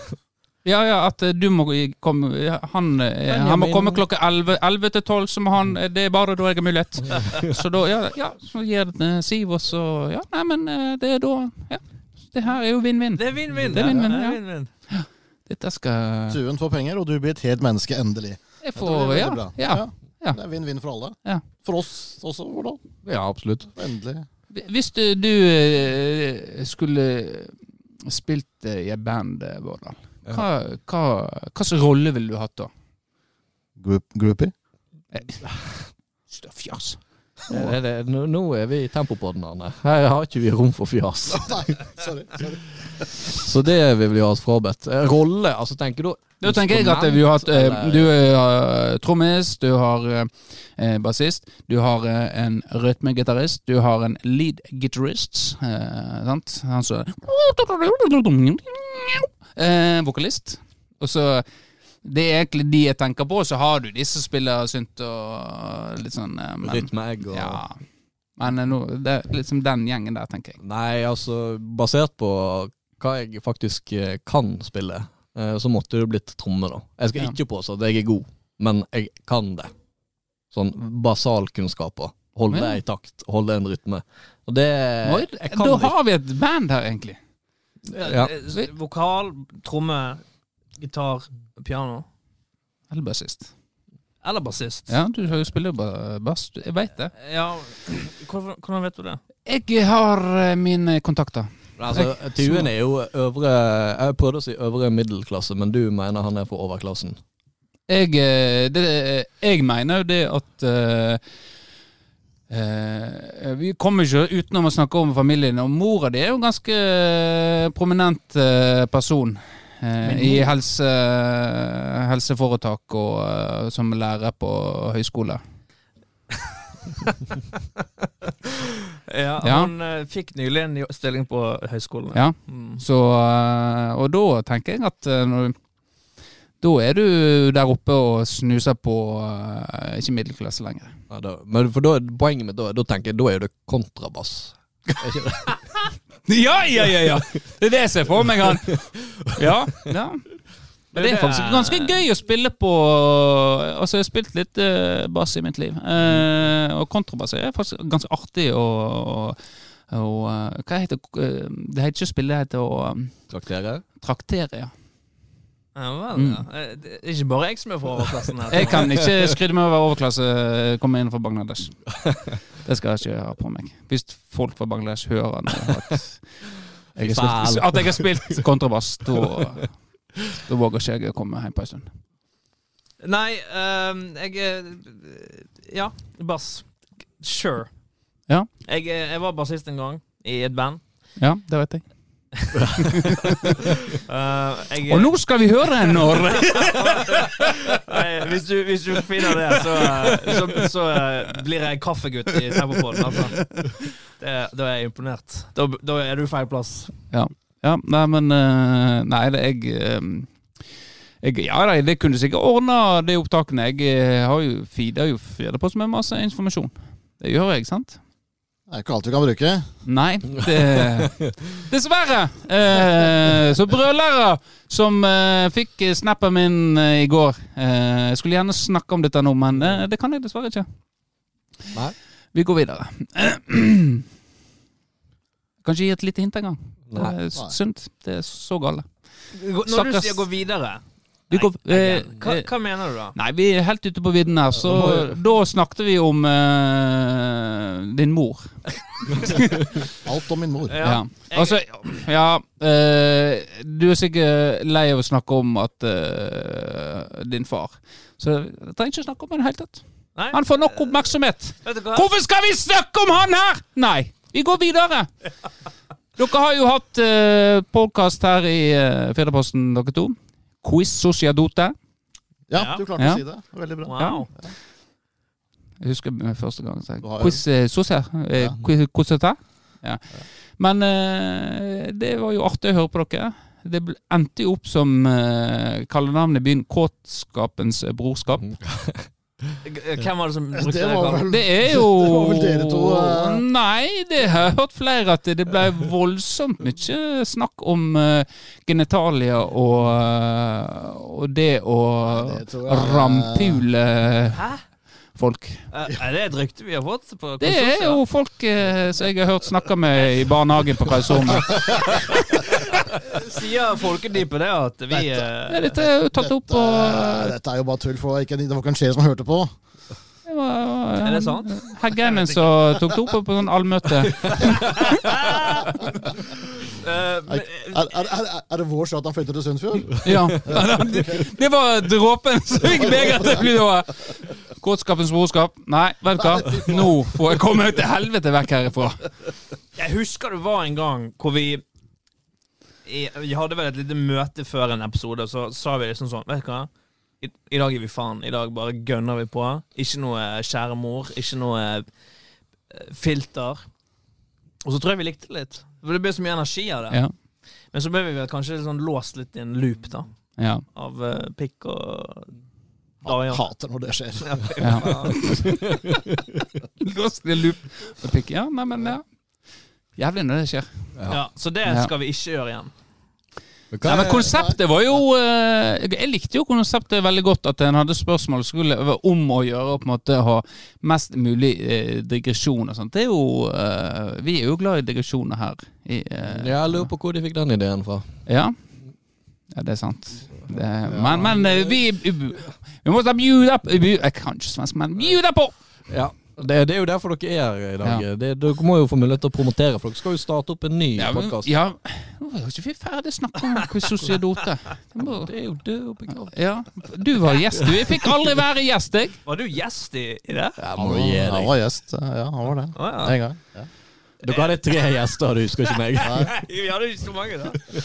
S1: Ja, ja, at eh, du må i- komme ja, Han, eh, han må
S2: Benjamin.
S1: komme klokka 11, 11 til 12, som han eh, Det er bare da jeg har mulighet. Så da, ja, ja så gir det eh, Siv, og så Ja, nei, men eh, det er da Ja. Det her er jo vinn-vinn.
S4: Det er vinn-vinn.
S1: Det er vinn-vinn,
S4: det er
S1: ja.
S4: vinn-vinn.
S1: Dette skal
S3: Tuen får penger, og du blir et helt menneske endelig.
S1: Jeg
S3: Jeg tror
S1: får
S3: det er
S1: Ja.
S3: veldig bra.
S1: ja. ja.
S3: Det er vinn-vinn for alle.
S1: Ja.
S3: For oss også, hvordan?
S2: Ja, absolutt.
S3: Endelig.
S1: Hvis du, du eh, skulle spilt eh, i et band, eh, Vårdal, hva, hva, hva slags rolle ville du hatt da?
S3: Group, groupie?
S1: Stå Fjas.
S2: Eh, Det, det, nå, nå er vi i tempo på den, Arne. Her har ikke vi rom for fjas.
S3: Nei, sorry. sorry.
S2: Så det vil vi ha oss frabedt. Eh, Rolle, altså tenker du
S1: Da tenker jeg at vi har hatt eh, Du er eh, trommis, du har eh, bassist, du har eh, en rytmegitarist, du har en lead gitarist, eh, sant? Han som eh, Vokalist. Og så Det er egentlig de jeg tenker på, så har du de som spiller synt og litt sånn eh, men-
S2: Rytmeegg og
S1: Ja. Men eh, nå, det er liksom den gjengen der, tenker jeg.
S2: Nei, altså, basert på hva jeg faktisk eh, kan spille, eh, så måtte det blitt tromme, da. Jeg skal
S1: Ja.
S2: ikke påstå at jeg er god, men jeg kan det. Sånn basalkunnskaper. Holde
S1: Ja.
S2: en takt, holde en rytme. Og det
S1: Oi,
S2: jeg kan
S1: da
S2: ikke.
S1: har vi et band her, egentlig.
S2: Ja.
S4: Eh, Vokal, tromme, gitar, piano.
S1: Eller bassist.
S4: Eller bassist.
S1: Ja, du har jo spiller ba- bass, du- jeg veit det.
S4: Ja, Hvordan, hvordan vet du det?
S1: Jeg har eh, mine kontakter.
S2: Altså, Tuen er jo øvre Jeg prøvde å si øvre middelklasse, men du mener han er for overklassen.
S1: Jeg, eh, det, jeg mener jo det at eh, eh, Vi kommer ikke utenom å snakke om familien, og mora di er jo en ganske eh, prominent eh, person. eh, I helse, helseforetak og eh, som lærer på høyskole.
S4: Ja,
S1: Ja.
S4: Han eh, fikk nylig en jo- stilling på høyskolen.
S1: Ja.
S4: Mm.
S1: Så, eh, og da tenker jeg at eh, når, da er du der oppe og snuser på eh, ikke middelklasse lenger.
S2: Ja, da, men for da, poenget mitt da, da tenker jeg, da er jo det kontrabass. Er ikke det?
S1: Ja, ja, ja! ja. Det er det jeg ser for meg. Han. Ja, ja. Men det er faktisk ganske gøy å spille på Altså, jeg har spilt litt eh, bass i mitt liv. Eh, og kontrabass er faktisk ganske artig å og, eh, Hva heter eh, Det heter ikke å spille, det heter å eh,
S2: Traktere?
S1: traktere, ja.
S4: Ja, vel, ja. Eh, Det er ikke bare jeg som er fra overklassen her.
S1: Mm. Jeg kan ikke skryte med å være overklasse, komme inn fra Bangladesh. Det skal jeg ikke ha på meg. Hvis folk fra Bangladesh hører nå at jeg har spilt, at jeg har spilt kontrabass, da da våger ikke jeg å komme hjem på en stund.
S4: Nei, ehm, jeg eh, Ja, bass. Sure.
S1: Ja.
S4: Jeg, eh, jeg var bassist en gang, i et band.
S1: Ja, det vet jeg.
S4: Eh, jeg,
S1: Og nå skal vi høre når
S4: Nei, hvis, du, hvis du finner det, så, eh, så, så eh, blir jeg kaffegutt i Tempopodden. Altså. Det, da er jeg imponert. Da, da er du feil plass.
S1: Ja, nei, men eh, Nei, det jeg eh, jeg, ja, nei, det kunne sikkert ordna de opptakene. Jeg eh, har jo feeder jo feeder på som er masse informasjon. Det gjør jeg, sant?
S3: Det er ikke alt du kan bruke.
S1: Nei, det, dessverre. Eh, så brølere som eh, fikk snappen min eh, i går eh, Jeg skulle gjerne snakke om dette nå, men eh, det kan jeg dessverre ikke.
S3: Nei.
S1: Vi går videre. Kanskje gi et lite hint en gang. Det
S2: Nei.
S1: er s- sunt. Det er så gale.
S4: Når du
S1: Stakkars-
S4: sier gå videre,
S1: Vi går, eh,
S4: hva,
S1: eh,
S4: hva mener du da?
S1: Nei, vi er helt ute på vidden her, så da snakket vi om eh, din mor.
S3: Alt om min mor.
S4: Eh,
S1: Ja. Altså, ja eh, Du er sikkert lei av å snakke om at eh, din far Så jeg trenger ikke snakke om han i det hele tatt.
S4: Nei,
S1: Han får nok oppmerksomhet.
S4: vet du hva?
S1: Hvorfor skal vi snakke om han her?! Nei, vi går videre. Dere har jo hatt uh, podkast her i uh, Fedreposten, dere to. Quiz Sociadote.
S3: Ja,
S4: Ja.
S3: du klarte
S1: Ja.
S3: å si det. Det var Veldig bra.
S4: Wow.
S1: Jeg husker eh, første gang jeg sa
S3: Du har-
S1: Quiz eh, Sosia. eh,
S3: Ja.
S1: Quiz Cosetta. Ja. Men eh, det var jo artig å høre på dere. Det ble- endte jo opp som eh, kallenavn i byen Kåtskapens eh, brorskap.
S4: Hvem var det som brukte
S3: Det var
S4: kallet?
S3: vel
S1: Det er jo
S3: Det var vel dere to, eh.
S1: Nei, det har jeg hørt flere at det ble voldsomt mye snakk om eh, genitalia og, eh, og det å
S3: Nei, det tror jeg, eh,
S1: rampule
S4: Hæ?
S1: folk.
S4: Eh, Er det et rykte vi har fått? På
S1: Det er jo folk eh, som jeg har hørt snakke med i barnehagen på Kaiserholmen.
S4: Sier folkedypet det at vi eh,
S1: Ja, Dette er jo tatt opp og
S3: Dette, dette er jo bare tull, for det var ikke, det var ikke en sjel som hørte på.
S1: det var-
S4: Er det sant?
S1: Heggen som tok det opp på sånn allmøte.
S4: eh, men-
S3: Er, er, er, er det vår skyld at han flytter til Sunnfjord?
S1: Ja. Det var dråpen som fikk meg til å bli da. Kåtskapens brorskap. Nei, vet du hva. Nå får jeg komme til helvete vekk herifra.
S4: Jeg husker det var en gang hvor vi i- Vi hadde vel et lite møte før en episode, og så sa vi liksom sånn Vet du hva? I, I dag gir vi faen. I dag bare gønner vi på. Ikke noe eh, kjære mor. Ikke noe eh, filter. Og så tror jeg vi likte det litt. For det ble så mye energi av det.
S1: Ja.
S4: Men så ble vi vel kanskje litt sånn låst litt i en loop, da.
S1: Ja.
S4: Av eh, pikk og
S3: Han
S4: Daja.
S3: hater når det skjer.
S1: Ja. Låst i loop. Og pikk. Ja, nei, men ja. Jævlig når det skjer.
S4: Ja, så det
S1: Ja.
S4: skal vi ikke gjøre igjen.
S1: Nei, men konseptet var jo eh, Jeg likte jo konseptet veldig godt. At en hadde spørsmål skulle være om å gjøre og på en måte ha mest mulig eh, digresjon og sånt. Det er jo eh, Vi er jo glad i digresjoner her. I, eh, ja.
S2: Jeg lurer på hvor de fikk den ideen fra.
S1: ja. det er sant. Det, men men eh, vi Vi må ta bjuda på Jeg kan ikke svensk, men bjuda på!
S2: Ja, det, det er jo derfor dere er her i dag. Det, dere må jo få mulighet til å promotere, for dere skal jo starte opp en ny
S1: Ja, men,
S2: podkast.
S1: ja. Nå er jo ikke vi ferdig snakka om hvor sosiodote. Det må-
S2: Det er jo død og begravet.
S1: Ja. Du var gjest, du. Jeg fikk aldri være gjest, jeg.
S4: Var du gjest i, i det?
S2: Jeg
S3: Han
S2: må
S3: var,
S2: gi
S3: han
S2: deg.
S3: var gjest. Ja, han var det.
S4: Å, ja.
S3: En gang. Ja.
S2: Dere hadde tre gjester, du husker ikke meg.
S4: Nei, vi hadde ikke så mange, da.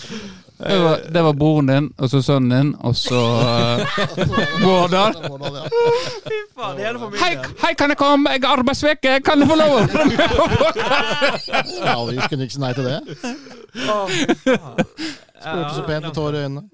S1: Det var, det var broren din, og så sønnen din, og så eh, Vårdal.
S3: Hvordan, ja.
S4: Fy faen, hele familien.
S1: Hei, hei, kan jeg komme? Jeg er arbeidsveke, kan jeg få lov? å være med på podkast?»
S3: ja, vi kunne ikke si nei til det. Spurte så pent med tårer i øynene.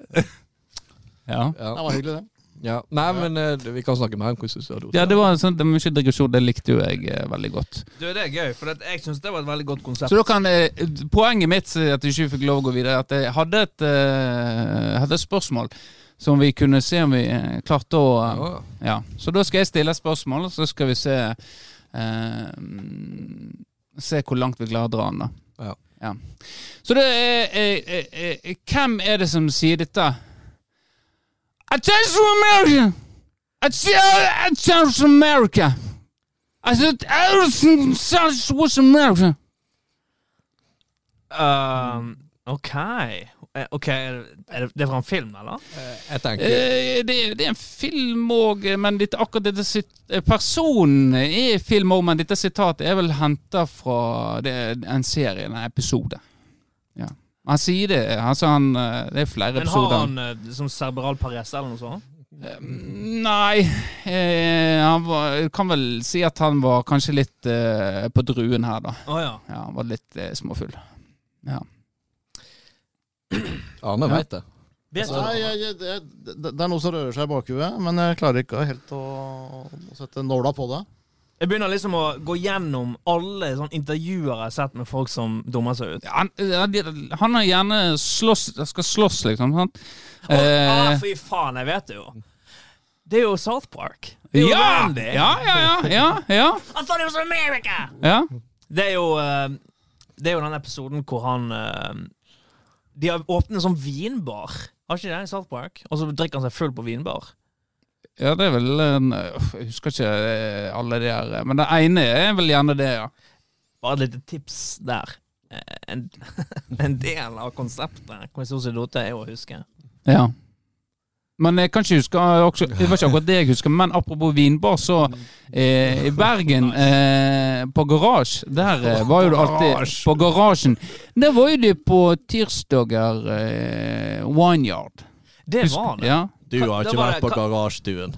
S1: ja.
S3: Det var hyggelig, det.
S2: Ja. Nei, men eh, vi kan snakke mer om hvordan du har det.
S1: ja, det var en sånn, det var mye digresjon, det likte jo jeg eh, veldig godt.
S4: Du, det er gøy, for at jeg syns det var et veldig godt konsept.
S1: Så da kan eh, Poenget mitt eh, at vi ikke fikk lov å gå videre, at jeg hadde et, eh, hadde et spørsmål som vi kunne se om vi eh, klarte å eh,
S2: Ja.
S1: Ja, så da skal jeg stille et spørsmål, og så skal vi se eh, Se hvor langt vi klarer å dra den, da.
S2: Ja.
S1: Så det er eh, eh, eh, Hvem er det som sier dette? Attention America! Attention America! I said, "Attention, attention America.
S4: Ehm, OK. Eh, Ok, er det, er det- det er fra en film, eller?
S2: Jeg tenker
S1: Eh, Det, er- det er en film òg, men dette, akkurat dette sit- eh, personen er i film òg, men dette sitatet er vel henta fra det, er en serie, en episode. Ja. Han sier det. Altså han, eh, det er flere
S4: Men har
S1: episoder.
S4: han eh, som cerebral parese eller noe sånt?
S1: Mm, Nei, eh, han var, kan vel si at han var kanskje litt eh, på druen her, da.
S4: Å ja.
S1: Ja, han var litt eh, småfull. Ja.
S2: Arne
S1: Ja.
S2: veit det.
S4: Vet du
S3: Nei, jeg, jeg, det, det det er noe som rører seg i bakhuet, men jeg klarer ikke helt å, å sette nåla på det.
S4: Jeg begynner liksom å gå gjennom alle sånne intervjuer jeg har sett med folk som dummer seg ut.
S1: Han, eh, han- han har gjerne slåss, skal slåss, liksom. Han.
S4: Og, ah,
S1: Eh,
S4: fy faen, jeg vet det jo. Det er jo South Park. Det er jo
S1: ja!
S4: Randy.
S1: Ja, ja, ja, ja, ja,
S4: I thought it was America!
S1: ja.
S4: Det er jo eh, Det er jo den episoden hvor han eh, De har åpnet en sånn vinbar. Har ikke det i South Park? Og så drikker han seg full på vinbar.
S1: Ja, det er vel en, uff, Jeg husker ikke eh, alle de her, eh, men den ene er vel gjerne det, ja.
S4: Bare et lite tips der. Eh, En, en del av konseptet Konsesjonsdote er jo å huske.
S1: ja. Men jeg kan ikke huske eh, også, Det var ikke akkurat det jeg husker, men apropos vinbar, så eh, I Bergen, eh, på Garasje, der eh, var jo du alltid På Garasjen. Der var jo du på tirsdager eh, Wine Yard.
S4: Det
S1: Husk-
S4: var det.
S1: Ja.
S2: Du har
S4: Da
S2: ikke
S4: var
S2: vært
S4: det-
S2: på garasjestuen.
S4: Jeg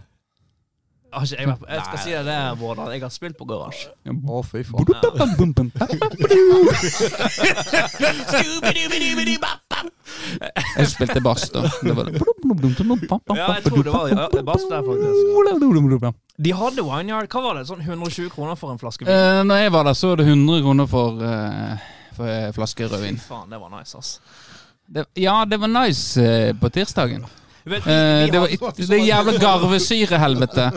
S4: har ikke- Jeg, var- jeg skal si deg det, Vårdal. Jeg har spilt på garasje.
S2: Å, fy faen.
S1: Jeg spilte bass, da. Det var
S4: Ja, jeg tror det var ja, det er bass der, faktisk.
S1: det.
S4: De hadde Wineyard. Hva var det? Sånn 120 kroner for en flaske vin?
S1: Eh, når jeg var der, så var det 100 kroner for, eh, for eh, flaske rødvin.
S4: Fy faen, det var nice, ass.
S1: Det, ja, det var nice eh, på tirsdagen.
S4: Vet, vi,
S1: Eh,
S4: vi
S1: det var
S4: hadde-
S1: it- det jævla garvesyrehelvete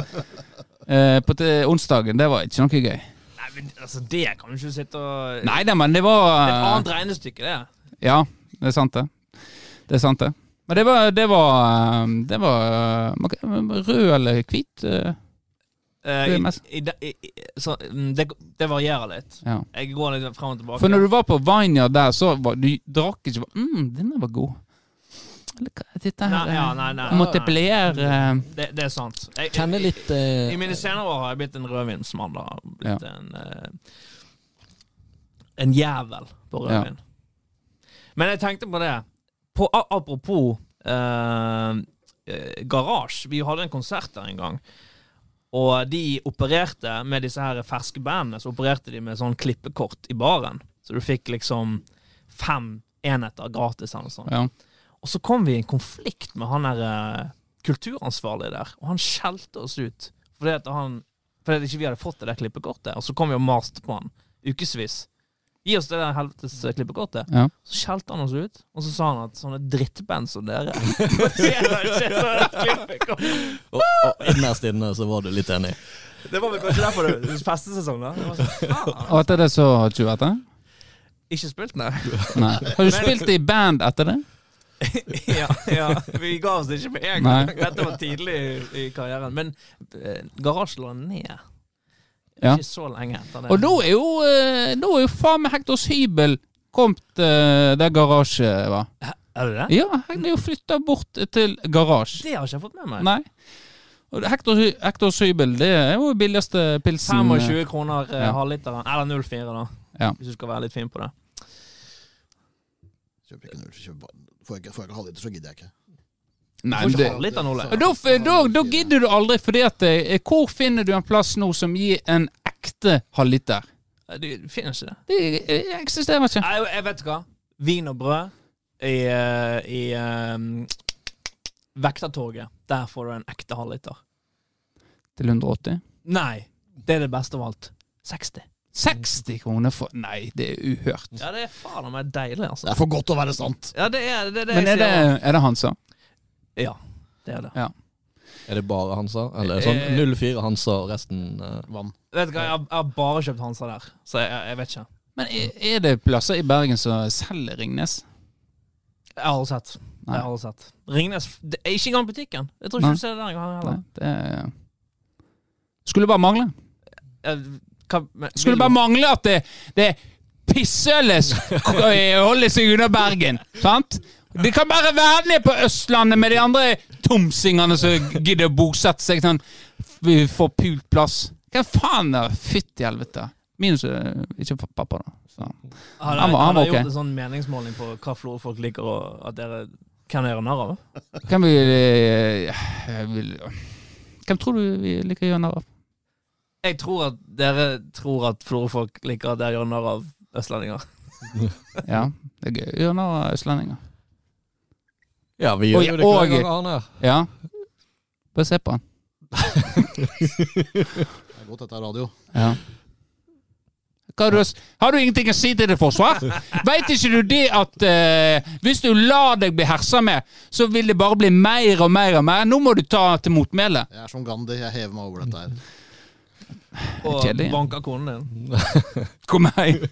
S1: eh, på te- onsdagen. Det var ikke noe gøy.
S4: Nei, men altså, det kan du ikke sitte og
S1: Nei da, men det
S4: Det er et
S1: var eh,
S4: annet regnestykke, det.
S1: Ja, det er sant, det. Det er sant, det. Men det var Det var, eh, det var eh, man kan- rød eller hvit. eh,
S4: Eh,
S1: Det er mest-
S4: i, i, i, i, så, mm, det, det varierer litt.
S1: Ja.
S4: Jeg går litt frem og tilbake.
S1: For når du var på Vineyard der, så var, du drakk ikke bare, mm, Denne var god. Eller hva Dette her
S4: Nei, ja,
S1: eh,
S4: nei, nei, nei.
S1: Multiplier eh,
S4: Det, det er sant. Jeg, jeg,
S2: Kjenner litt eh,
S4: I mine senere år har jeg blitt en rødvinsmann. da Blitt en eh, En jævel på rødvin. Men jeg tenkte på det på, a- Apropos eh, eh, Garasje. Vi hadde en konsert der en gang. Og de opererte med disse her ferske bandene Så opererte de med sånn klippekort i baren. Så du fikk liksom fem enheter gratis. Eller noe sånt.
S1: ja.
S4: Og så kom vi i en konflikt med han der eh, kulturansvarlige der, og han skjelte oss ut fordi at han fordi at ikke vi hadde fått det der klippekortet. Og så kom vi og maste på han ukevis. Gi oss det der helvetes eh, klippekortet.
S1: Ja.
S4: Så skjelte han oss ut, og så sa han at sånne drittband som dere fortjener ikke sånt klippekort.
S2: Og, og innerst inne så var du litt enig.
S4: Det var vel kanskje derfor det festesesong, da. Det var sånn, faen.
S1: Og etter det så har du ikke vært der?
S4: Ikke spilt, nei.
S1: Nei. Har du spilt i band etter det?
S4: ja, ja, vi ga oss ikke med en gang.
S1: Nei.
S4: Dette var tidlig i, i karrieren. Men eh, garasjen lå ned.
S1: Ja.
S4: Ikke så lenge etter det.
S1: Og da er jo, eh, da er jo faen meg Hektors hybel kommet eh, der garasje var.
S4: Er det det?
S1: Ja, han er jo flytta bort til garasje.
S4: Det har ikke jeg fått med meg.
S1: Nei. Og Hector, Hy- Hectors hybel, det er jo billigste pilsen.
S4: 25 kroner eh,
S1: Ja.
S4: halvliteren. Eller 04, da.
S1: Ja.
S4: Hvis du skal være litt fin på det.
S3: Kjøper ikke en øl, så kjøper bare- Får jeg ikke, får jeg ikke halvliter, så gidder jeg ikke.
S1: Nei,
S4: Får ikke
S1: det,
S4: halvliter nå, Ole.
S1: Og da, da, da gidder du aldri, fordi at eh, Hvor finner du en plass nå som gir en ekte halvliter?
S4: Eh, Du finner ikke det.
S1: Det eh, eksisterer ikke.
S4: Nei, jeg vet hva. Vin og brød i, eh, i eh, Vektertorget. Der får du en ekte halvliter.
S1: Til 180?
S4: Nei. Det er det beste av alt. 60.
S1: 60 kroner for Nei, det er uhørt.
S4: Ja, det er faen meg deilig, altså.
S3: Det er for godt til å være sant.
S4: Ja, det er det, er det
S1: Men
S4: jeg
S1: er det,
S4: sier.
S1: er det Hansa?
S4: Ja, det er det.
S2: Er det bare Hansa? Eller sånn
S4: Eh.
S2: 04 Hansa og resten eh,
S3: Vann.
S4: Vet du hva, jeg har, jeg har bare kjøpt Hansa der, så jeg, jeg vet ikke.
S1: Men er, er det plasser i Bergen som selger Ringnes?
S4: Jeg har aldri sett.
S1: Nei.
S4: Jeg har aldri sett. Ringnes det er Ikke engang butikken. Jeg tror
S1: Nei.
S4: ikke du ser det der engang
S1: Nei,
S4: heller.
S1: det er- Skulle bare mangle.
S4: Eh, Hva, men,
S1: Skulle
S4: vil
S1: bare
S4: du-
S1: mangle at det, det pissøles holder seg unna Bergen. Sant? De kan bare være ned på Østlandet med de andre tomsingene som gidder å bosette seg sånn f- forpult plass. Hva faen da? Fytti helvete. Minus eh, ikke for pappa, da. Så.
S4: Har
S1: Han
S4: dere
S1: var- han var
S4: har dere gjort
S1: ok.
S4: en sånn meningsmåling på hva flor folk liker, og at dere kan gjøre narr av?
S1: Hvem vil, eh, vil Hvem tror du vi liker å gjøre narr av?
S4: Jeg tror at dere tror at florfolk liker at dere gjør narr av østlendinger.
S1: Ja, det er gøy å gjøre narr av østlendinger.
S2: Ja, vi gjør
S1: Og-
S2: jo det hver
S1: og-
S2: gang, Arne.
S1: Ja. Bare se på han.
S3: er godt dette er radio.
S1: Ja. Hva har, du, har du ingenting å si til det, forsvar? Veit ikke du det at eh, hvis du lar deg bli hersa med, så vil det bare bli mer og mer og mer? Nå må du ta til motmæle.
S3: Jeg er som Gandhi, jeg hever meg over dette her.
S4: Og
S1: Kjedelig.
S4: banker konen din.
S1: Kom hjem.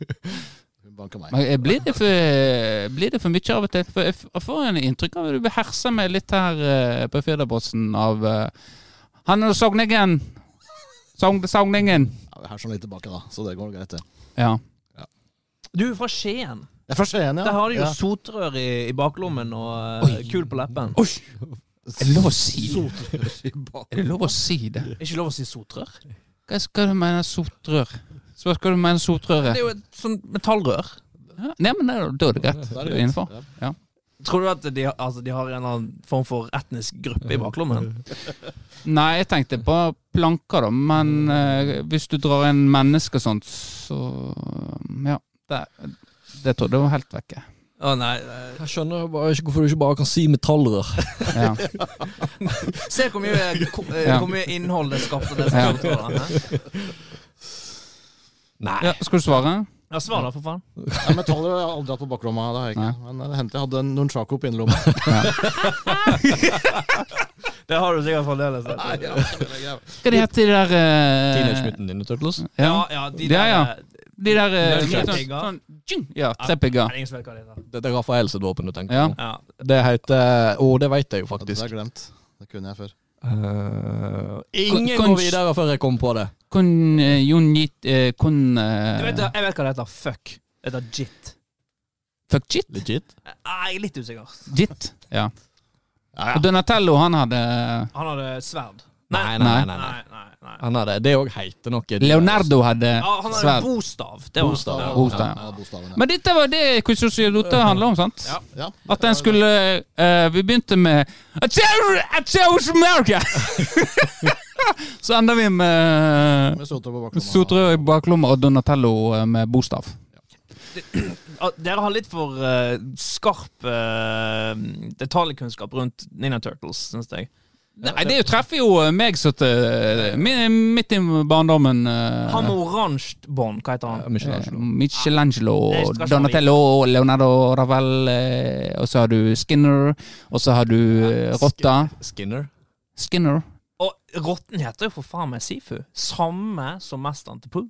S3: Hun banker meg.
S1: Men, eh, Blir det, for, eh, blir det for mye av og til? For jeg f- jeg får en inntrykk av at du beherser meg litt her eh, på Firdabrotsen av eh, Han er sogningen. Sogn, sogningen.
S3: Ja, vi er sånn litt tilbake, da, så det går greit, det.
S1: Ja.
S4: Du er fra Skien.
S3: Jeg er fra Skien, ja.
S4: Der har du jo
S3: Ja.
S4: sotrør i, i baklommen og eh, kul på leppen.
S1: Oi! Er det lov å si det?
S3: Sotrør i bak-
S1: Er det lov å si det?
S4: Er ikke lov å si sotrør?
S1: Hva skal du mene sotrør? Spør hva du mener
S4: Det
S1: sotrøret.
S4: er jo et sånt metallrør.
S1: Ja, nei, men det er- da er det greit.
S3: Da
S1: Da
S3: er
S1: er
S3: det
S1: du
S3: greit.
S1: innenfor.
S3: Ja.
S4: Tror du at de, altså, de har en eller annen form for etnisk gruppe i baklommen?
S1: Nei, jeg tenkte på planker, da. Men eh, hvis du drar inn mennesker og sånt, så Ja. Det, det trodde jeg var helt vekke.
S4: Å nei, eh, nei.
S2: Jeg skjønner bare ikke hvorfor du ikke bare kan si metallrør.
S1: Ja.
S4: Se hvor mye, ko- eh,
S1: Ja.
S4: hvor mye innhold det skapte. Det
S1: Ja.
S4: som sotrøret, hæ?
S2: Nei.
S1: ja, skal du svare?
S4: ja, svar da, for faen.
S3: Ja, metaller har jeg aldri hatt på baklomma. Det har jeg ikke. Men det hendte jeg hadde en nunchaku på innerlomma.
S4: Det har du sikkert fremdeles.
S3: Nei, ja, det er greit.
S1: Hva de heter de der eh,
S2: Teenage Mutant Ninja Turtles.
S1: Ja,
S4: Ja, ja, de der,
S1: Ja, ja.
S4: eh,
S1: de der eh,
S4: Nunchucks.
S1: sånn- sånn- tjing! Ja,
S4: Nei,
S1: trepigger.
S4: det er ingen som vet hva det heter.
S2: Det er Rafael sitt våpen du tenker
S1: Ja.
S2: på.
S4: Ja.
S2: Det heter Å, det veit jeg jo
S3: Det har
S2: faktisk.
S3: jeg glemt. Det kunne jeg før.
S2: Eh, ingen
S1: Kon-
S2: går
S1: konst-
S2: videre før jeg kom på det.
S1: Kun eh, Jonjit eh, Kun eh,
S4: Du vet, jeg vet hva det heter. Fuck. Det heter jit.
S1: Fuck jit?
S2: Legit.
S4: Eh, Jeg er litt usikker.
S1: Jit. Ja.
S3: Ja,
S1: Og Donatello, han hadde
S4: Han hadde sverd.
S2: Nei, nei, nei. nei, nei.
S4: Nei, nei, nei.
S2: Han er det. Det òg heter noe.
S1: eh, Leonardo hadde
S4: Ja, han hadde
S1: sverd.
S4: bostav. Det var
S2: Bostav,
S3: ja.
S1: Bostav,
S3: Ja, bostaven, ja.
S1: Men dette var det Kususiodote handla om, sant?
S4: Ja.
S3: Ja.
S1: At den skulle eh, Vi begynte med I chose- I chose America! Så enda vi med eh,
S3: Med sotrør på baklomma.
S1: Sotrø i baklomma og Donatello eh, med bostav.
S4: Ja, Dere har litt for eh, skarp eh, detaljkunnskap rundt Ninja Turtles, syns jeg.
S1: Nei, det jo treffer jo eh, meg så til mi- midt i barndommen. eh,
S4: Han med oransje bånd, hva heter han?
S1: eh,
S2: Michelangelo.
S1: Michelangelo,
S4: Det skal ikke
S1: Donatello, Leonardo Ravel, eh, og så har du Skinner, og så har du eh, Rotta.
S2: Skinner.
S1: Skinner.
S4: Og rotten heter jo for faen meg Sifu. Samme som mesteren til Pooh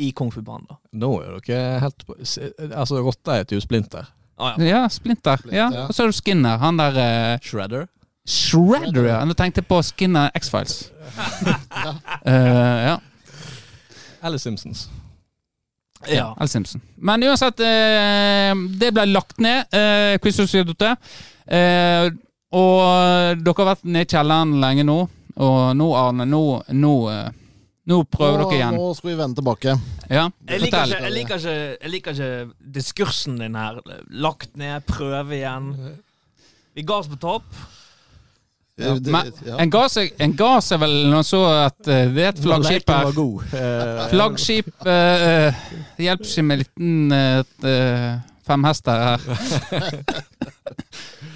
S4: i Kung Fu Panda.
S2: Nå er dere helt på se- Altså, rotta heter jo Splinter.
S4: Ah, ja.
S1: Ja, Splinter. Ja.
S3: ja.
S1: Og så har du Skinner. Han der eh,
S2: Shredder.
S1: Shredder, ja. Nå tenkte jeg på Skinner X-Files. Eh, ja.
S2: Eller Simpsons.
S4: ja.
S1: Al Simpson. Men uansett, eh, det ble lagt ned, eh, Quiz og Sydote. Eh, og dere har vært nede i kjelleren lenge nå, og nå, Arne, nå Nå, eh, nå prøver
S3: Nå-
S1: dere igjen.
S3: Nå skal vi vende tilbake.
S1: Ja,
S4: Jeg liker,
S1: fortell.
S4: ikke, jeg, liker ikke, jeg liker ikke diskursen din her. Lagt ned, prøve igjen. Vi ga oss på topp.
S1: Ja,
S3: Det-
S1: men-
S3: ja.
S1: En ga seg, en ga seg vel når han så at eh, det er et flaggskip
S2: Leken
S1: her.
S2: var god. Eh,
S1: Flaggskip eh, eh, Hjelp ikke med en liten eh, et, eh, femhester her.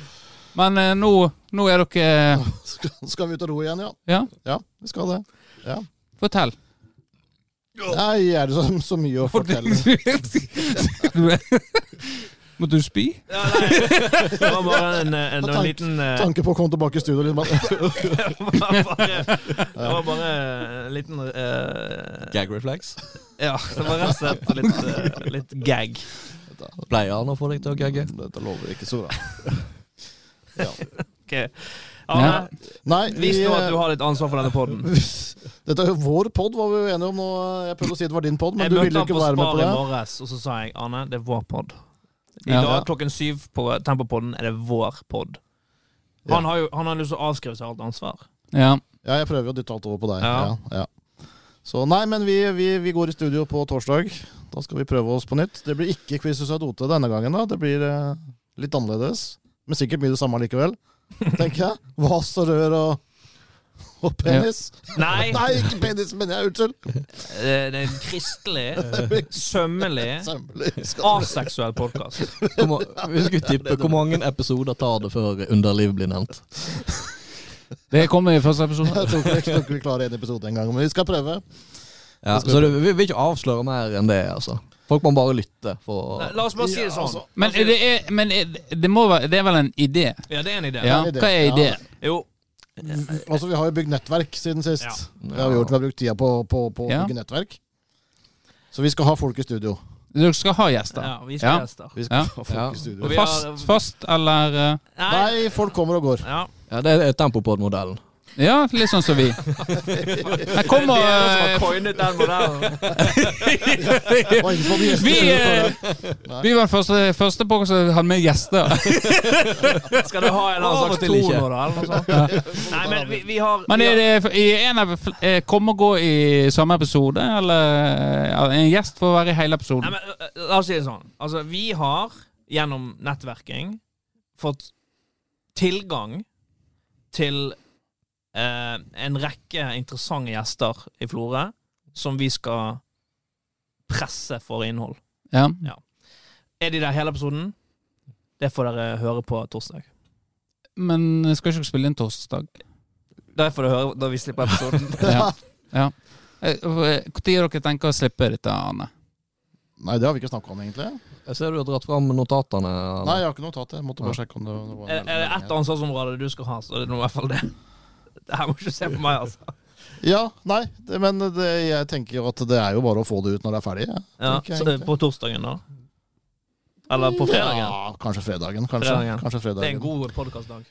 S1: Men eh, nå, nå er dere eh,
S3: Skal, skal vi ut og ro igjen, ja?
S1: Ja,
S3: Ja, vi skal det. Ja.
S1: fortell.
S3: Nei, er det så, så mye å fortelle?
S1: Måtte du spy?
S4: Ja, nei. Det var bare en, en, en
S3: Tank-
S4: liten eh,
S3: Tanke på å komme tilbake i studio litt bare.
S4: Det var bare, det var bare en liten eh,
S2: Gag reflex.
S4: Ja, det var rett og slett litt, eh, litt gag.
S2: Pleier han å få deg til å gagge?
S3: Mm, Dette lover ikke så bra.
S4: Ok. Arne,
S3: Nei, eh,
S4: vis nå at du har litt ansvar for denne poden.
S3: Dette er jo vår pod, var vi jo enige om nå. Jeg prøvde å si det var din pod, men
S4: Jeg
S3: du
S4: møtte
S3: ville
S4: han
S3: ikke
S4: på
S3: være med
S4: Spar
S3: på
S4: i
S3: det.
S4: morges, og så sa jeg Arne, det er vår pod. I
S1: Ja.
S4: dag klokken syv på Tempopodden er det vår pod. Han har jo han har lyst til å avskrive seg alt ansvar.
S1: Ja.
S3: Ja, jeg prøver jo å dytte alt over på deg. Ja.
S4: Ja.
S3: Ja, Så nei, men vi, vi, vi går i studio på torsdag. Da skal vi prøve oss på nytt. Det blir ikke quiz hos Adote denne gangen, da. Det blir eh, litt annerledes. Men sikkert mye det samme likevel, tenker jeg. Vas og rør og og penis.
S4: Nei,
S3: Nei, ikke penis, men jeg unnskyld.
S4: eh, det er en kristelig, sømmelig,
S3: Sømmelig. Skal-
S4: aseksuell podkast.
S2: Hvor ma- Hvis du skulle tippe hvor mange episoder tar det før underliv blir nevnt?
S1: Det kommer i første episode.
S3: Jeg tror ikke jeg tror ikke vi klarer en episode engang, men vi skal prøve.
S2: Ja, så du vi vil ikke avsløre mer enn det, altså. Folk må bare lytte for
S4: Nei, La oss bare si det
S3: Ja,
S4: sånn.
S3: altså.
S4: La
S1: Men
S4: oss si
S1: det er, men er, det, må være, det er vel en idé?
S4: Ja, det er en idé.
S1: Ja,
S3: en idé.
S1: hva er idé?
S3: Ja.
S4: Jo.
S3: Altså, vi har jo bygd nettverk siden sist.
S4: Ja.
S3: Det har vi gjort. Vi har brukt tida på, på, på å
S1: Ja.
S3: bygge nettverk. Så vi skal ha folk i studio.
S1: Dere skal ha gjester?
S4: Ja, vi skal
S1: Ja.
S4: gjester.
S3: Vi skal
S1: Ja.
S3: ha folk
S2: Ja.
S3: i studio.
S4: Og vi har-
S1: Fast, fast eller eh,
S3: Nei, folk kommer og går.
S4: Ja.
S2: Ja, det er Tempopod-modellen.
S1: Ja, litt sånn som vi. Her
S4: Det
S1: kommer
S4: er dere som
S1: eh,
S4: har coinet den modellen.
S3: Det var ingen som hadde gjester
S1: Vi,
S3: før,
S1: eh, vi var den første, første på som hadde med gjester.
S4: Skal du ha en
S2: Av
S4: eller annen
S2: og
S4: slags
S2: til
S4: to
S2: ikke.
S4: nå, da? Eller noe sånt? Nei, men vi, vi har
S1: Men
S4: vi
S1: er
S4: har-
S1: det i en av eh, Kom og gå i samme episode, eller ja, en gjest får være i hele
S4: Nei,
S1: episoden?
S4: men ø, ø, La oss si det sånn. Altså, vi har gjennom nettverking fått tilgang til eh, en rekke interessante gjester i Florø som vi skal presse for innhold.
S1: Ja.
S4: Er de der hele episoden? Det får dere høre på torsdag.
S1: Men skal ikke dere spille inn torsdag?
S4: Det får dere høre da vi slipper episoden.
S1: Ja. ja. Når dere tenker å slippe dette, Arne?
S3: Nei, det har vi ikke snakka om, egentlig.
S2: Jeg ser du har dratt fram notatene. Arne.
S3: Nei, jeg har ikke notat. Jeg måtte bare sjekke om det det var
S4: er, er det Eh, ett ansvarsområde du skal ha, så er det nå i hvert fall det. Det her må ikke se på meg, altså.
S3: Ja, nei, det, men det, jeg tenker jo at det er jo bare å få det ut når det er ferdig. jeg.
S4: Ja,
S3: Tenker jeg
S4: så,
S3: egentlig.
S4: på torsdagen, da? Eller på fredagen?
S3: Ja, kanskje fredagen. Kanskje
S4: Fredagen.
S3: fredagen. Kanskje fredagen.
S4: Det er en god podcastdag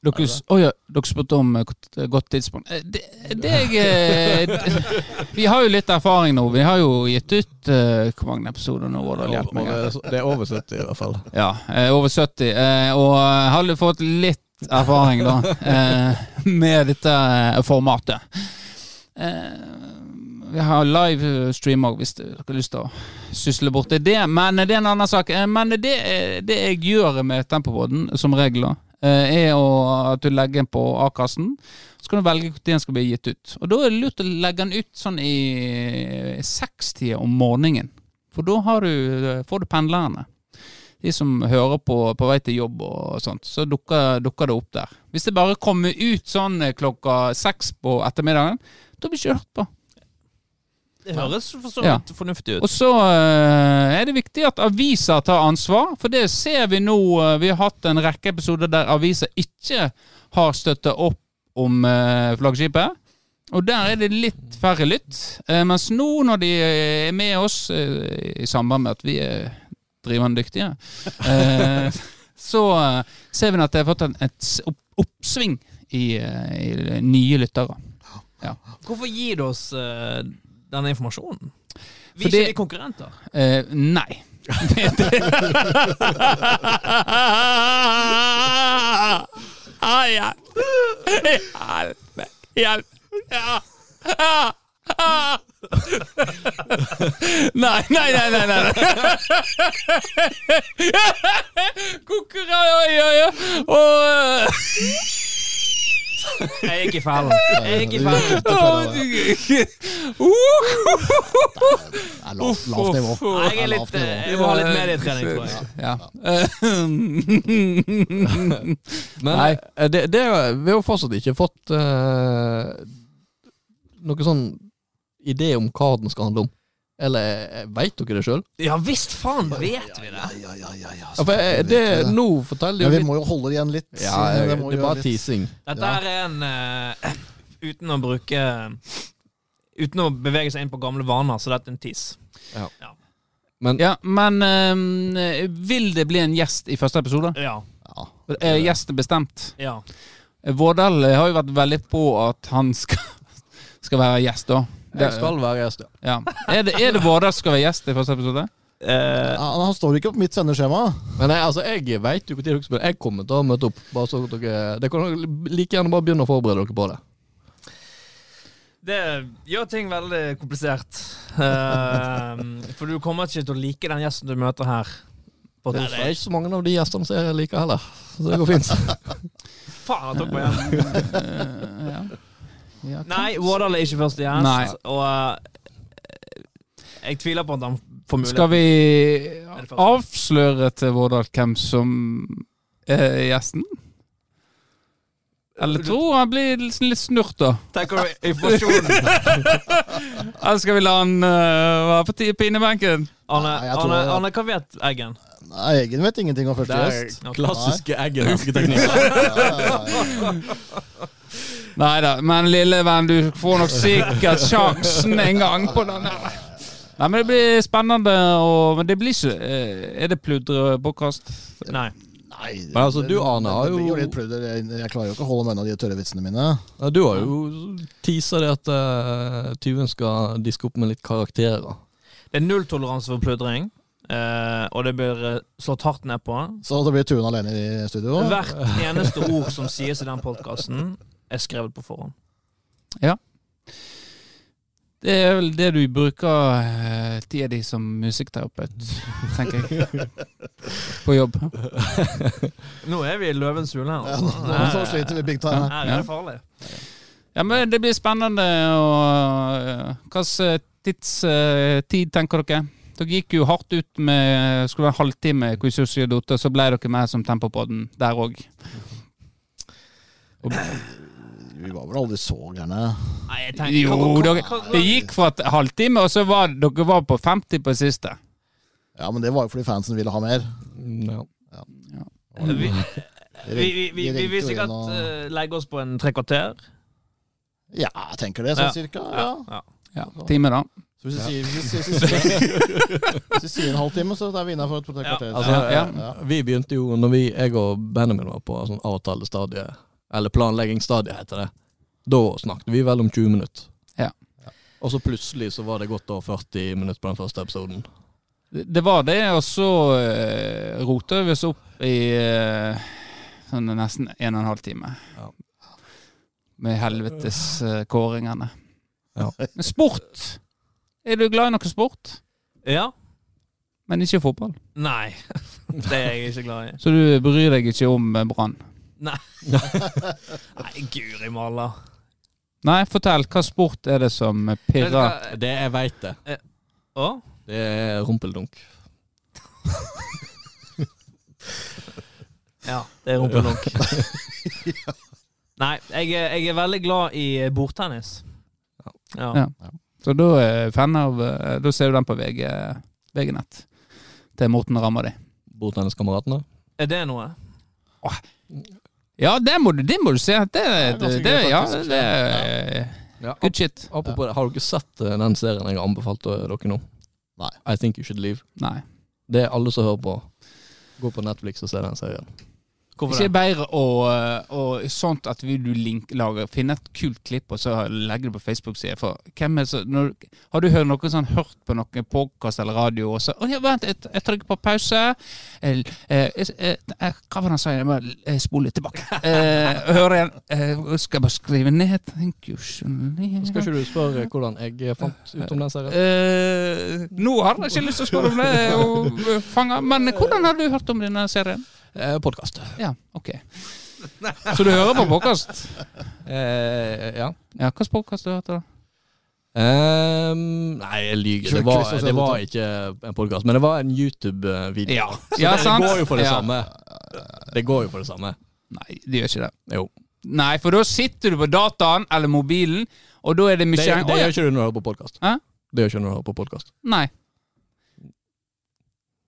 S1: Dere, s- å ja, dere spurte om eh, godt- eh, godt tidspunkt. Eh, Det, det jeg eh, d- Vi har jo litt erfaring nå. Vi har jo gitt ut eh, Hvor mange episoder nå? Vårdal,
S2: Over-
S1: hjelp meg her.
S2: over- Det er over 70 i hvert fall.
S1: Ja, eh, over 70. eh, Og har li- fått litt erfaring da eh, med dette eh, formatet. Eh, Vi har livestream òg, hvis dere har lyst til å sysle bort det. det men det er en annen sak. Eh, Men det, eh, det jeg gjør med Tempobåten, som regel, da, eh, er å, at du legger den på A-kassen. Så kan du velge når den skal bli gitt ut. Og da er det lurt å legge den ut sånn i sekstida om morgenen. For da har du, eh, får du pendlerne de som hører på på vei til jobb og sånt, så dukker, dukker det opp der. Hvis det bare kommer ut sånn klokka seks på ettermiddagen, da blir det ikke hørt på.
S4: Det høres for så
S1: Ja.
S4: vidt fornuftig ut.
S1: Og så eh, er det viktig at aviser tar ansvar, for det ser vi nå. eh, Vi har hatt en rekke episoder der aviser ikke har støtta opp om eh, flaggskipet. Og der er det litt færre lytt. Eh, mens nå, når de eh, er med oss, eh, i samband med at vi eh, er drivende dyktige, eh, så eh, ser vi at det har fått en, et s- opp, oppsving i, eh, i nye lyttere.
S4: Hvorfor gir du oss eh, denne informasjonen? Vi er
S1: Fordi-
S4: ikke de konkurrenter.
S1: Eh, nei. Hjelp! Nei, nei, nei, nei, nei. Konkurranse Oi, oi, oi. Og, eh,
S4: Jeg gikk i fellen. Jeg gikk i fellen.
S1: å, du- Uh,
S3: Det er lavt, lavt
S1: uff,
S3: nivå.
S1: uff.
S4: Nei, jeg, er litt, eh, jeg må ha litt medietrening, tror jeg.
S1: Ja. Eh,
S2: Men
S1: Nei.
S2: eh, Det, det, er jo- vi har jo fortsatt ikke fått eh, noen sånn idé om hva den skal handle om. Eller veit dere det sjøl?
S4: Ja visst faen vet vi det.
S3: Ja, ja, ja, ja,
S2: Ja, for, eh, det- nå forteller
S3: Ja,
S2: jo
S3: vi
S2: litt-
S3: må jo holde igjen litt.
S2: ja,
S3: siden
S2: det,
S3: må
S2: er
S3: jo
S2: bare
S3: litt-
S2: teasing.
S4: Dette her er en eh, Uten å bruke Uten å bevege seg inn på gamle vaner, så dette er en tiss.
S2: Men
S1: ja, men eh, vil det bli en gjest i første episode?
S4: Ja.
S3: Ja.
S1: Er gjesten bestemt?
S4: ja.
S1: Vårdal eh, har jo vært veldig på at han skal, skal være gjest, da.
S2: jeg skal være gjest.
S1: Ja.
S2: ja.
S1: Er det, er det Vårdal som skal være gjest i første episode?
S4: Eh,
S3: Ja, han står ikke på mitt sendeskjema.
S2: Men jeg, altså, jeg veit jo når dere spiller. Jeg kommer til å møte opp. Bare så dere, dere kan like gjerne bare begynne å forberede dere på det.
S4: det gjør ting veldig komplisert. Eh, for du kommer ikke til å like den gjesten du møter her. På
S2: Det er
S4: torsdag.
S2: ikke så mange av de gjestene som jeg liker heller. Så det går fint.
S4: Faen, jeg tok meg igjen.
S1: Eh, ja. Ja, kan-
S4: Nei, Vårdal er ikke første gjest.
S1: Nei.
S4: Og eh, jeg tviler på at han får mulighet.
S1: Skal vi
S4: det første?
S1: avsløre til Vårdal hvem som er gjesten? Eller tror han blir litt sånn litt snurt, da.
S5: Tenk over informasjonen.
S1: Eller skal vi la han øh, være på ti- pinebenken?
S4: Arne,
S3: Nei, jeg tror-
S4: Arne, Arne, hva vet Eggen?
S3: Nei, Eggen vet ingenting om første
S5: Det er
S3: gjest.
S5: klassiske eggenske teknikker.
S1: Nei da, men lille venn, du får nok sikkert sjansen en gang på den her. Nei, men det blir spennende, og, men det blir ikke eh, Er det pludrepodkast?
S4: Nei.
S3: Nei,
S2: Men altså, du, Arne, har
S3: Det blir
S2: jo-
S3: jo litt pludder. Jeg, jeg klarer jo ikke å holde meg unna de tørre vitsene mine.
S2: Ja, du har jo teasa det at eh, tyven skal diske opp med litt karakterer.
S4: Det er nulltoleranse for pludring, eh, og det blir eh, slått hardt ned på.
S3: Så det blir Tuen alene i studio.
S4: Hvert eneste ord som sies i den podkasten, er skrevet på forhånd.
S1: Det er vel det du bruker uh, tida di som musikkterapeut, tenker jeg. På jobb.
S4: Nå er vi i løvens hule her.
S3: Ja,
S4: altså.
S3: nå, nå
S1: sånn
S3: så sliter vi big time.
S4: Her er det farlig.
S1: Ja, men det blir spennende. Og, eh, hva slags tids, eh, tid tenker dere? Dere gikk jo hardt ut med skulle være en halvtime quiz og Dote, så ble dere med som Tempopodden der òg.
S3: Vi var vel aldri så gærne.
S4: Nei, jeg tenker,
S1: Jo,
S4: hva- hva-
S1: dere,
S4: hva- hva-
S1: det gikk fra et halvtime, og så var dere var på 50 på siste.
S3: Ja, men det var jo fordi fansen ville ha mer.
S2: Ja.
S4: Vi,
S3: De
S4: vi,
S3: ring-
S4: vi, vi,
S3: de
S4: vi
S3: ringte
S4: vil
S3: jo inn
S4: sikkert
S3: og-
S4: eh, legge oss på en tre kvarter.
S3: Ja, jeg tenker det, sånn cirka. Ja.
S4: Ja.
S1: Ja, time, da.
S3: Så hvis du sier, hvis, hvis, hvis, hvis, hvis du sier en halvtime, så er vi innafor et par
S4: Ja.
S3: kvarter.
S2: Altså,
S1: Ja,
S3: ja.
S2: Vi begynte jo når vi, jeg og Benjamin var på sånn avtalestadie, eller planleggingsstadie heter det. Da snakket vi vel om 20 minutter.
S1: Ja.
S2: Og så plutselig så var det godt over 40 minutter på den første episoden.
S1: Det det var det, og så uh, rota vi oss opp i eh, sånn nesten en og en halv time.
S2: Ja.
S1: Med helvetes eh, kåringene.
S2: Ja.
S1: Men sport! Er du glad i noe sport?
S4: Ja?
S1: Men ikke fotball.
S4: Nei. Det er jeg ikke glad i.
S1: Så du bryr deg ikke om eh, Brann?
S4: Nei, guri malla.
S1: Nei, fortell. Hva sport er det som
S4: Vet du
S1: pirrer?
S4: hva?
S2: Det jeg veit det.
S4: Å?
S2: Det er rumpeldunk.
S4: Ja, det er rumpelunk. Nei, jeg er, jeg er veldig glad i eh, bordtennis. Ja.
S1: Ja. Så da er fan av eh, Da ser du den på VG, VG-nett. Til Morten rammer de.
S2: Bordtenniskameratene.
S4: Er det noe?
S1: Ja, det må du, det må du se. Det,
S3: er
S1: det,
S3: ganske
S1: det,
S3: gøy,
S1: ja,
S3: faktisk.
S1: det er
S2: Ja.
S1: good shit.
S2: Apropos det, har dere sett eh, den serien jeg har anbefalt eh, dere nå?
S3: Nei.
S2: I Think You Should Leave.
S1: Nei.
S2: Det er alle som hører på. Gå på Netflix og se den serien.
S4: Hvorfor
S1: Ikke
S4: det?
S1: bedre å, å- sånt at vi, du link, lager, finner et kult klipp og så legger det på Facebook-sida. For hvem er så, når, har du hørt noen sånn hørt på noen podkast eller radio og så «Å, ja, Vent, jeg, jeg trykker på pause. Eh, eh, eh, eh, hva var det han sa? Jeg må eh, spole litt tilbake. Eh, hører igjen. Eh, skal jeg bare skrive ned? Thank you. Julie.
S2: Skal ikke du spørre hvordan jeg fant ut om den serien?
S1: Eh, nå har jeg ikke lyst til å spørre om det, og, eh, fanger, men hvordan har du hørt om denne serien?
S2: Eh, Podkast.
S1: Ja, ok. Så du hører på podkast?
S2: Eh, ja.
S1: Ja, hva slags podkast du hørte da?
S2: Ehm, nei, jeg lyver. Det var, det var ikke en podkast, men det var en YouTube-video.
S1: Ja, ja
S2: det
S1: sant?
S2: går jo for det
S1: ja.
S2: samme. Det går jo for det samme.
S1: Nei, det gjør ikke det.
S2: Jo.
S1: Nei, for da sitter du på dataen eller mobilen, og da er det
S2: Det,
S1: mye
S2: det
S1: Å, ja.
S2: gjør ikke du når du hører på podkast.
S1: Hæ?
S2: Det gjør ikke du når du hører på podkast.
S1: Nei.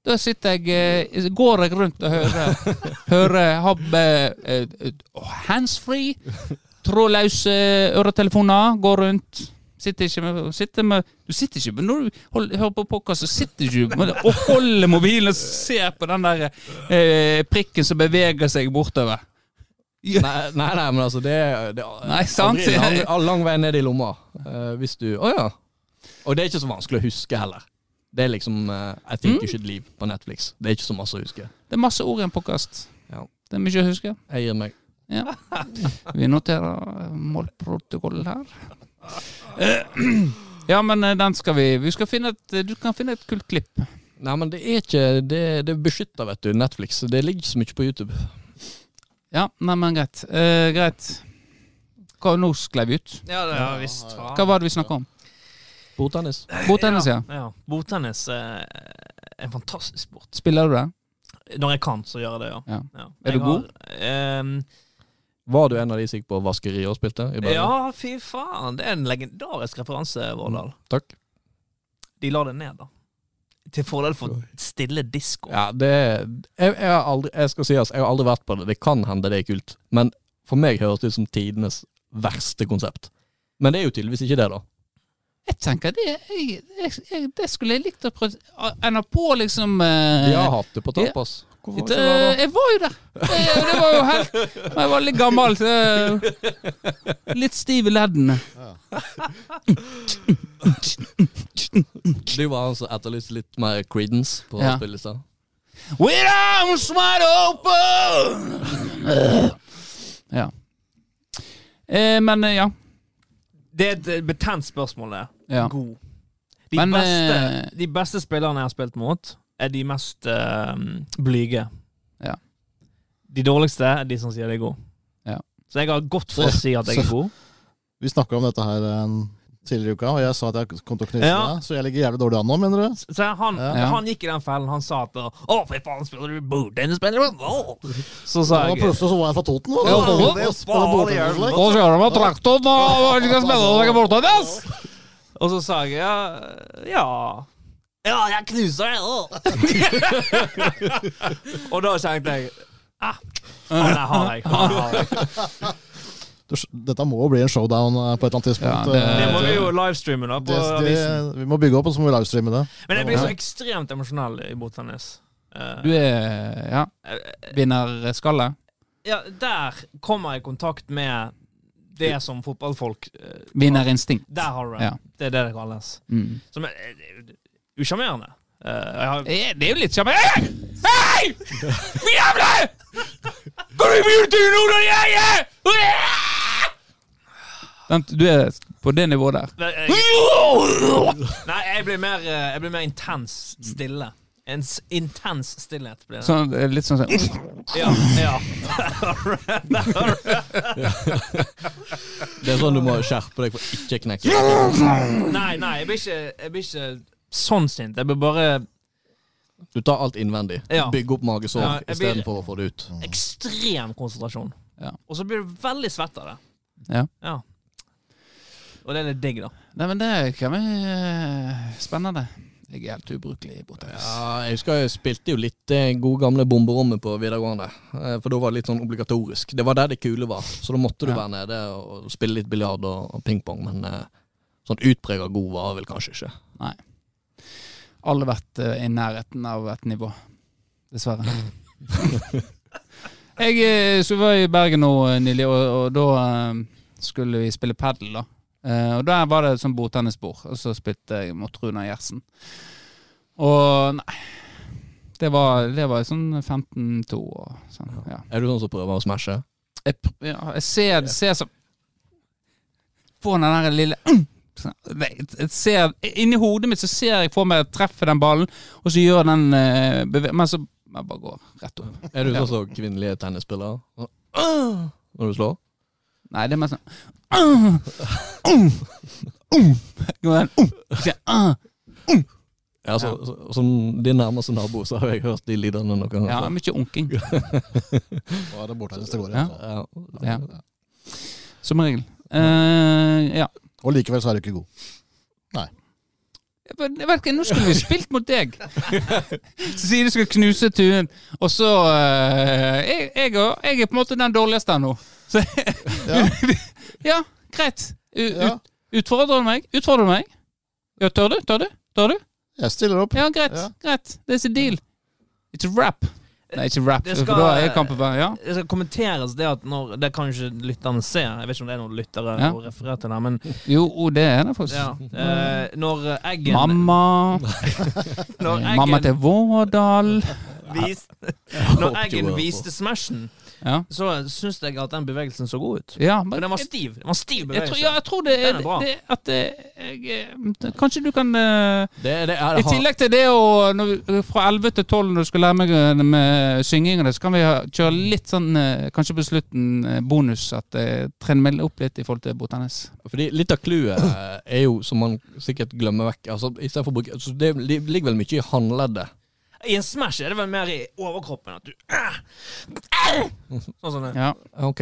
S1: Da sitter jeg eh, Går jeg rundt og hører Hører har eh, eh, handsfree, trådløse øretelefoner, går rundt. Sitter ikke med, sitter med Du sitter ikke med, Når du hold, hører på podkast, så sitter du ikke med og holder mobilen og ser på den der eh, prikken som beveger seg bortover.
S2: Nei, nei, nei, men altså, det, er- det er
S1: Nei, sant?
S2: aldri en lang, all lang vei ned i lomma. Eh, hvis du Å ja. Og det er ikke så vanskelig å huske heller. Det er liksom eh, I Think
S1: Mm.
S2: You Should Leave på Netflix. Det er ikke så masse å huske.
S1: Det er masse ord i en podkast.
S2: Ja.
S1: Det er mye å huske.
S2: Jeg gir meg.
S1: Ja. Vi noterer eh, målprotokollen her. Eh, Ja, men eh, den skal vi, vi skal finne et, eh, Du kan finne et kult klipp.
S2: Nei, men det er ikke Det, det beskytter, vet du, Netflix. Det ligger ikke så mye på YouTube.
S1: Ja, nei, men greit. Eh, greit. Hva, nå sklei vi ut.
S4: Ja, det, ja visst. faen.
S1: Hva var det vi snakka om?
S2: Bordtennis.
S1: Bordtennis, ja.
S4: Ja, ja. Bordtennis eh, er en fantastisk sport.
S1: Spiller du det?
S4: Når jeg kan, så gjør jeg det, ja.
S1: Ja.
S4: Ja.
S1: Er du
S4: Jeg har, ehm,
S2: Var du en av de som gikk på vaskeri og spilte? i Bergen?
S4: Ja, fy faen. Det er en legendarisk referanse, Vårdal.
S2: Takk.
S4: De la det ned, da. Til fordel for stille disko.
S2: Ja, det jeg, jeg, har aldri, jeg skal si altså, jeg har aldri vært på det. Det kan hende det er kult. Men for meg høres det ut som tidenes verste konsept. Men det er jo tydeligvis ikke det, da.
S1: Jeg tenker det jeg, jeg, jeg, Det skulle jeg likt å prøve. NRK, liksom eh,
S2: Jeg har hatt det på tapas. Hvorfor
S1: det,
S2: ikke være da?
S1: jeg var jo der! Det, det Eh, var jo helt Men Jeg var litt gammel. Så, jeg- litt stiv i leddene.
S2: Det var han som etterlyste altså litt mer credence på
S1: Ja.
S2: spillelista.
S1: With arms wide open! ja. Eh, men eh, ja.
S4: Det er et eh, betent spørsmål, det.
S1: ja.
S4: God. De,
S1: Men,
S4: beste,
S1: eh,
S4: de beste spillerne jeg har spilt mot, er de mest eh, blyge.
S1: Ja.
S4: De dårligste er de som sier de er gode.
S1: Ja.
S4: Så jeg har godt for å si at jeg er god.
S3: Vi snakka om dette her en tidligere i uka, og jeg sa at jeg kom til å knuse
S4: Ja.
S3: deg, så jeg ligger jævlig dårlig an nå, mener du?
S4: Så han,
S1: Ja.
S4: han gikk i den fellen. Han sa at 'Å, fy faen, spiller du bordtennis?' spiller du- Å!» Så sa
S3: Og
S4: jeg
S3: plutselig så var jeg fra Toten.
S4: Ja,
S3: Og, liksom.
S4: Toten.
S3: og spille bordtennis og slik.
S1: Da kjører vi traktoren og skal spille og legge bort den, ass!
S4: Og så sa jeg ja Ja, ja jeg knuser deg! Å. og da tenkte jeg ah, Han der har jeg. Han har jeg.
S3: Du skj- Dette må jo bli en showdown eh, på et eller annet
S1: Ja,
S3: tidspunkt.
S1: det-
S4: Det må
S3: eh,
S4: vi jo livestreame da på
S3: det- det-
S4: avisen.
S3: vi må bygge opp, og så må vi livestreame det.
S4: Men jeg blir så ekstremt emosjonell i bordtennis. Eh,
S1: Du er ja, vinnerskallet?
S4: ja, der kommer jeg i kontakt med det som fotballfolk eh,
S1: Vinnerinstinkt.
S4: Der har du det.
S1: Ja.
S4: Det er det det kalles.
S1: Mm.
S4: Som er er- er usjarmerende. Eh, jeg har-
S1: Eh, Det er jo litt sjarmerende! Hei! Min jævla! Går du på juletur nå når jeg er Den, Du er på det nivået der.
S4: Nei, jeg- Nei, jeg blir mer, eh, jeg blir mer intens stille. En s- intens stillhet blir det.
S1: Sånn, eh, litt sånn sånn
S4: Ja, ja.
S2: Det er sånn du må skjerpe deg for ikke å knekke.
S4: Nei, nei, jeg blir ikke, jeg blir ikke sånn sint. Jeg blir bare
S2: Du tar alt innvendig.
S4: Ja.
S2: Bygge opp magesår
S4: Ja, jeg blir-
S2: istedenfor å få det ut.
S4: ekstrem konsentrasjon.
S1: Ja.
S4: Og så blir du veldig svett av det.
S1: Ja.
S4: Og det er litt digg, da.
S1: Nei, men det kan være spennende. Jeg er helt ubrukelig i bordtennis.
S2: Ja, jeg husker jeg spilte jo litt det gode gamle bomberommet på videregående. eh, For da var det litt sånn obligatorisk. Det var der det kule var, så da måtte du
S1: Ja.
S2: være nede og spille litt biljard og og pingpong. Men eh, sånn utprega god var vel kanskje ikke.
S1: Alle vært eh, i nærheten av et nivå. Dessverre. jeg eh, så var jeg i Bergen nå eh, nylig, og, og da eh, skulle vi spille padel, da. Eh, og der var det et sånt bordtennisbord, og så spilte jeg mot Runar Gjertsen. Og nei Det var, det var sånn 15-2 og sånn. Ja.
S2: Er du sånn som prøver å smashe?
S1: Jeg, pr- ja, jeg ser, ser så På den der lille Sånn, jeg, jeg ser, Inni hodet mitt så ser jeg for meg at jeg treffer den ballen, og så gjør den eh, beve- Men så jeg bare går rett opp.
S2: Er du sånn som kvinnelige tennisspillere? Sånn, «Åh!» Når du slår?
S1: Nei, det er mer sånn «Ah, ah, ah, ah». Så jeg, «Ah».
S2: Ja, så, så- Som din nærmeste nabo så har jeg hørt de lidende noen
S1: Ja,
S2: ganger.
S1: mye onking.
S3: Da er det bordtennis det går i.
S1: Ja.
S3: altså.
S2: Ja.
S1: Ja. Som regel. Eh, ja.
S3: Og likevel så er du ikke god.
S1: Jeg bare- jeg vet ikke, Nå skulle vi spilt mot deg! Så sier du skal knuse tuen, og så eh, jeg, jeg, og- jeg er på en måte den dårligste nå. Så, ja.
S3: Ja.
S1: greit. U,
S3: Ja,
S1: ut, utfordrer du meg? Utfordrer du meg? Ja, tør du? Tør du? Tør du?
S3: jeg stiller opp.
S1: Ja, greit.
S3: Ja.
S1: greit. This is a deal. It's a wrap. Nei, ikke wrap,
S4: Det
S1: for
S4: skal-
S1: da er kampen ferdig. Ja.
S4: Det skal kommenteres det at når Det kan ikke lytterne se. Jeg vet ikke om det er noen lyttere
S1: Ja.
S4: å referere til der, men
S1: Jo, oh, det er det faktisk.
S4: ja. eh, Når Eggen
S1: Mamma.
S4: Når Eggen,
S1: Mamma til Vårdal.
S4: vis, når eggen viste smashen,
S1: Ja.
S4: så syns jeg at den bevegelsen så god ut.
S1: Ja,
S4: Men den var stiv. Den var stiv
S1: Jeg tror, ja,
S4: bevegelse.
S1: jeg tror det er,
S4: Den er bra.
S1: det, at eh, jeg, eh, Kanskje du kan eh,
S2: Det, det er
S1: I tillegg til det å når, vi- eh, Fra 11 til 12 når du skal lære meg eh, med synging, og det, så kan vi ha- kjøre litt sånn eh, Kanskje på slutten eh, bonus at jeg trener meg opp litt i forhold til botanis.
S2: Fordi Litt av clouet eh, er jo, som man sikkert glemmer vekk altså, i stedet for å bruke, altså, Det li- ligger vel mye i håndleddet.
S4: I en smash er det vel mer i overkroppen at du Sånn som det.
S1: Ja.
S2: Ok.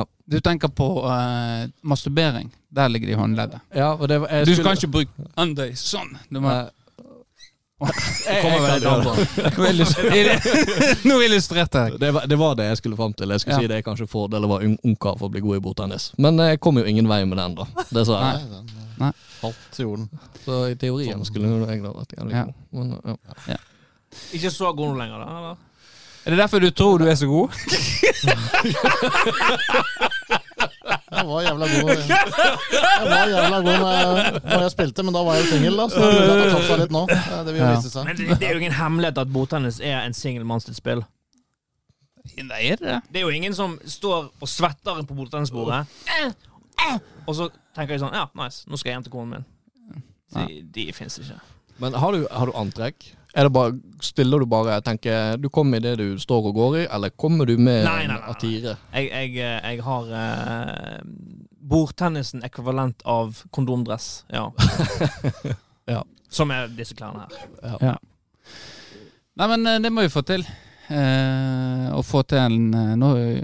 S2: Ja.
S1: Du tenker på eh, masturbering. Der ligger det i håndleddet.
S2: Ja, og det var- jeg
S1: Du skal
S2: skulle-
S1: ikke bruke andøy sånn. Du må,
S2: Nei.
S1: jeg,
S2: Kommer
S1: jeg,
S2: vel an på.
S1: nå illus- nå illustrerte jeg.
S2: Det var, det var det jeg skulle fram til. Jeg skulle
S1: Ja.
S2: si det er kanskje fordelen var ung- ungkar for å bli god i bordtennis. Men eh, jeg kom jo ingen vei med den, da. Det sa jeg.
S3: Nei, den eh,
S1: Nei.
S3: falt til jorden.
S2: Så i teorien skulle jo jeg da vært jævlig
S1: Ja.
S2: god. Men, ja.
S4: Ikke så god nå lenger, da? eller?
S1: Er det derfor du tror du er så god?
S3: Jeg var jævla god Jeg var jævla god når jeg, når jeg spilte, men da var jeg singel, da. Så det er mulig at det har tatt seg litt nå. Eh, Det vil jo
S1: Ja.
S3: vise seg.
S4: Men det, det er jo ingen hemmelighet at bordtennis er en singel mann sitt spill.
S1: Nei, er det det?
S4: Det er jo ingen som står og svetter på bordtennisbordet, eh, eh, og så tenker jeg sånn Ja, nice, nå skal jeg hjem til konen min. De, de fins ikke.
S2: Men har du, har du antrekk? Er det bare, stiller du bare tenker Du kommer i det du står og går i, eller kommer du med
S4: Nei, nei, nei,
S2: en
S4: nei.
S2: attire?
S4: Jeg, jeg, eh, jeg har eh, bordtennisen ekvivalent av kondomdress, ja.
S2: Ja.
S4: Som er disse klærne her.
S1: Ja. Nei, men eh, det må vi få til. Eh, å få til en eh, Nå eh,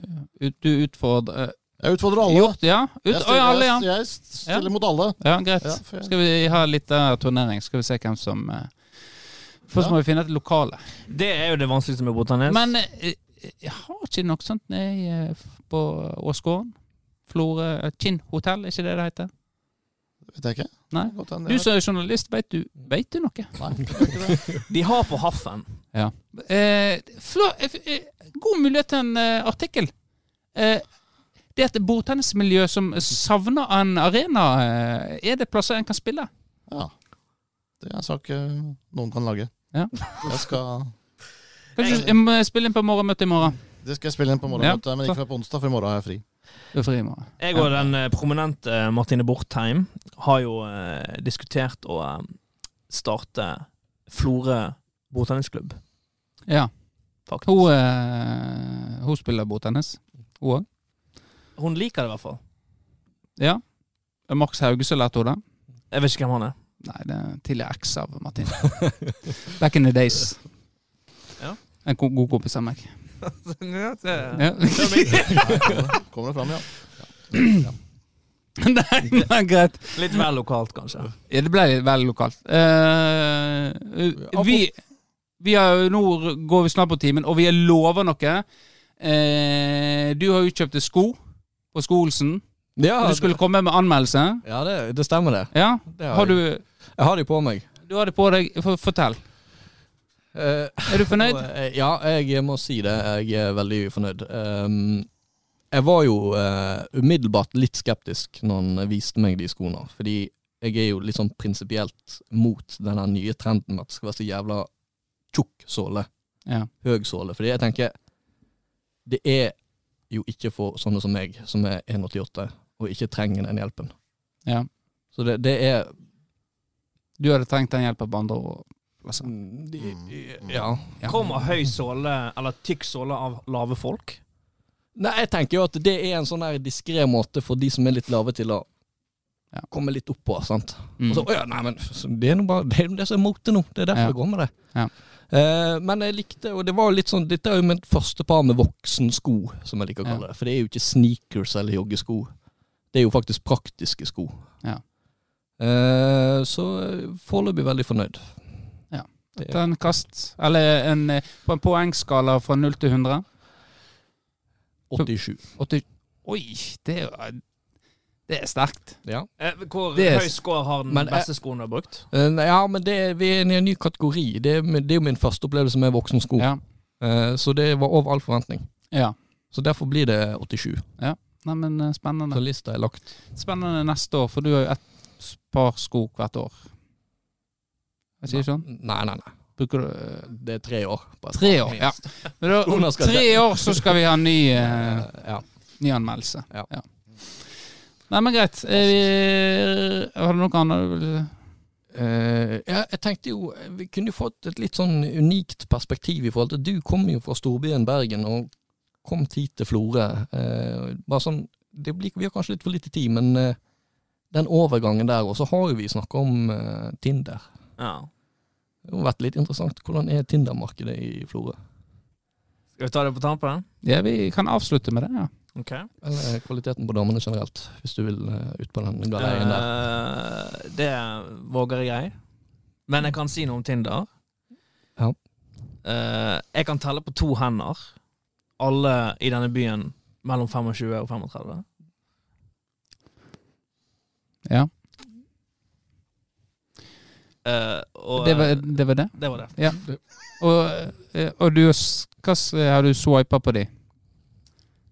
S1: ut, du utfordrer
S3: Jeg utfordrer
S1: eh,
S3: alle.
S1: Gjort, ja? Ut,
S3: Jeg
S1: Oi, alle, ja.
S3: stiller, jeg stiller mot alle.
S1: ja. Greit.
S3: Ja, for jeg-
S1: Skal vi ha litt eh, turnering? Skal vi se hvem som eh, Først
S3: Ja.
S1: må vi finne et lokale.
S4: Det er jo det vanskeligste med bordtennis.
S1: Men eh, jeg har ikke noe sånt nede i, eh, f- på Åsgården? Florø eh, Kinn hotell, er ikke det det heter?
S3: Vet jeg ikke.
S1: Nei.
S3: Godt hende
S1: Du
S3: jeg-
S1: som er journalist, veit du, vet du noe?
S3: Nei, det er ikke det.
S4: de har på Haffen.
S1: Ja. Eh, fla, eh, f- eh, god mulighet til en eh, artikkel. Eh, det er et bordtennismiljø som savner en arena. Eh, er det plasser en kan spille?
S3: Ja. Det er en sak eh, noen kan lage.
S1: Ja.
S3: Jeg skal,
S1: Kanskje jeg må spille inn på morgenmøtet i morgen?
S3: det skal jeg spille inn på morgenmøtet, men ikke på onsdag, for i morgen har jeg fri.
S1: Du er fri i morgen.
S4: Jeg og den eh, prominente eh, Martine Bortheim har jo eh, diskutert å eh, starte Florø bordtennisklubb,
S1: Ja.
S4: faktisk.
S1: Hun,
S4: Hun,
S1: eh, hun spiller bordtennis, hun òg.
S4: liker det i hvert fall.
S1: Ja. Max Haugesø lærte hun det.
S4: Jeg vet ikke hvem han er.
S1: Nei, det er en tidligere eks av Martin. Back in the days.
S4: Ja.
S1: En ko god kompis av meg.
S4: Ja.
S1: Ja.
S3: Kommer det fram, ja.
S1: Nei, men greit.
S4: Litt vel lokalt, kanskje.
S1: Ja, det ble veldig lokalt. Eh, vi, vi har, jo- nå går vi snart på timen, og vi lover noe. Eh, du har jo kjøpt deg sko på Skoolsen.
S2: Ja,
S1: Du skulle komme med anmeldelse.
S2: ja det, det stemmer, det.
S1: Ja,
S2: det
S1: har
S2: jeg.
S1: du,
S2: jeg har de på meg.
S1: du har det på deg. F- Fortell.
S2: Eh,
S1: Er du fornøyd?
S2: Eh, Ja, jeg må si det. Jeg er veldig fornøyd. Ehm, jeg var jo eh, umiddelbart litt skeptisk når han viste meg de skoene. Fordi jeg er jo litt sånn prinsipielt mot denne nye trenden med at det skal være så jævla tjukk såle.
S1: Ja.
S2: Høg såle. Fordi jeg tenker Det er jo ikke for sånne som meg, som er 1,88 og ikke trenger den hjelpen.
S1: Ja.
S2: Så det, det er
S1: Du hadde trengt den hjelpen på andre altså.
S2: Mm.
S1: plasser.
S2: de, Ja.
S1: Ja.
S4: Kommer høy såle, eller tykk såle, av lave folk?
S2: Nei, jeg tenker jo at det er en sånn her diskré måte for de som er litt lave til å
S1: Ja.
S2: komme litt opp på, sant.
S1: Mm.
S2: Og så, «Å ja, nei, men det er nå bare det, er jo det som er mote nå, det er derfor
S1: Ja.
S2: jeg går med det.
S1: Ja.
S2: Eh, men jeg likte, og det var jo litt sånn, dette er jo mitt første par med voksensko, som jeg liker å
S1: Ja.
S2: kalle det. For det er jo ikke sneakers eller joggesko. Det er jo faktisk praktiske sko.
S1: Ja.
S2: Eh, så foreløpig veldig fornøyd.
S1: Terningkast Eller en, eh, på en poengskala fra 0 til 100.
S2: 87.
S1: 80, oi, det er, jo- det er sterkt.
S2: Ja.
S4: Eh, hvor
S1: Det er-
S4: høy score har den
S2: Men, eh,
S4: beste skoen du har brukt?
S2: Eh, nei, ja, men det, er- vi er inne i en ny kategori. Det, er- det er jo min første opplevelse med voksensko.
S1: Ja.
S2: Eh, Så det var over all forventning.
S1: ja.
S2: Så derfor blir det 87.
S1: Nei, men eh,
S2: Så
S1: spennende.
S2: lista er lagt.
S1: Spennende neste år, for du har jo ett par sko hvert år. Jeg sier sånn?
S2: Nei, nei, nei.
S1: Bruker du eh,
S2: Det er tre år. Bare
S1: Tre år, ja. Men da, om
S2: Skoene skal
S1: tre år så skal vi ha en ny, eh,
S2: Eh, ja.
S1: ny anmeldelse.
S2: Ja.
S1: Nei, men greit. Eh, vi, har du noe annet du vil
S2: Eh, ja, jeg tenkte jo eh, Vi kunne jo fått et litt sånn unikt perspektiv i forhold til Du kom jo fra storbyen Bergen og kom hit til Florø. Eh, bare sånn det blir, Vi har kanskje litt for lite tid, men eh, den overgangen der Og så har jo vi snakka om eh, Tinder.
S4: Ja.
S2: Det har vært litt interessant. Hvordan er Tinder-markedet i Florø?
S4: Skal vi ta det på tampen?
S1: Ja, vi kan avslutte med det, ja.
S4: Ok.
S2: Eller eh, kvaliteten på damene generelt, hvis du vil eh, ut på den galeien der.
S4: Eh, det våger jeg. Men jeg kan si noe om Tinder.
S2: Ja.
S4: Eh, jeg kan telle på to hender. Alle i denne byen mellom 25 og 35.
S1: Ja.
S4: Eh, og
S1: Det var det. Var det.
S4: det var det.
S1: Ja. Og, eh, og du skal, s- har du swipa på de?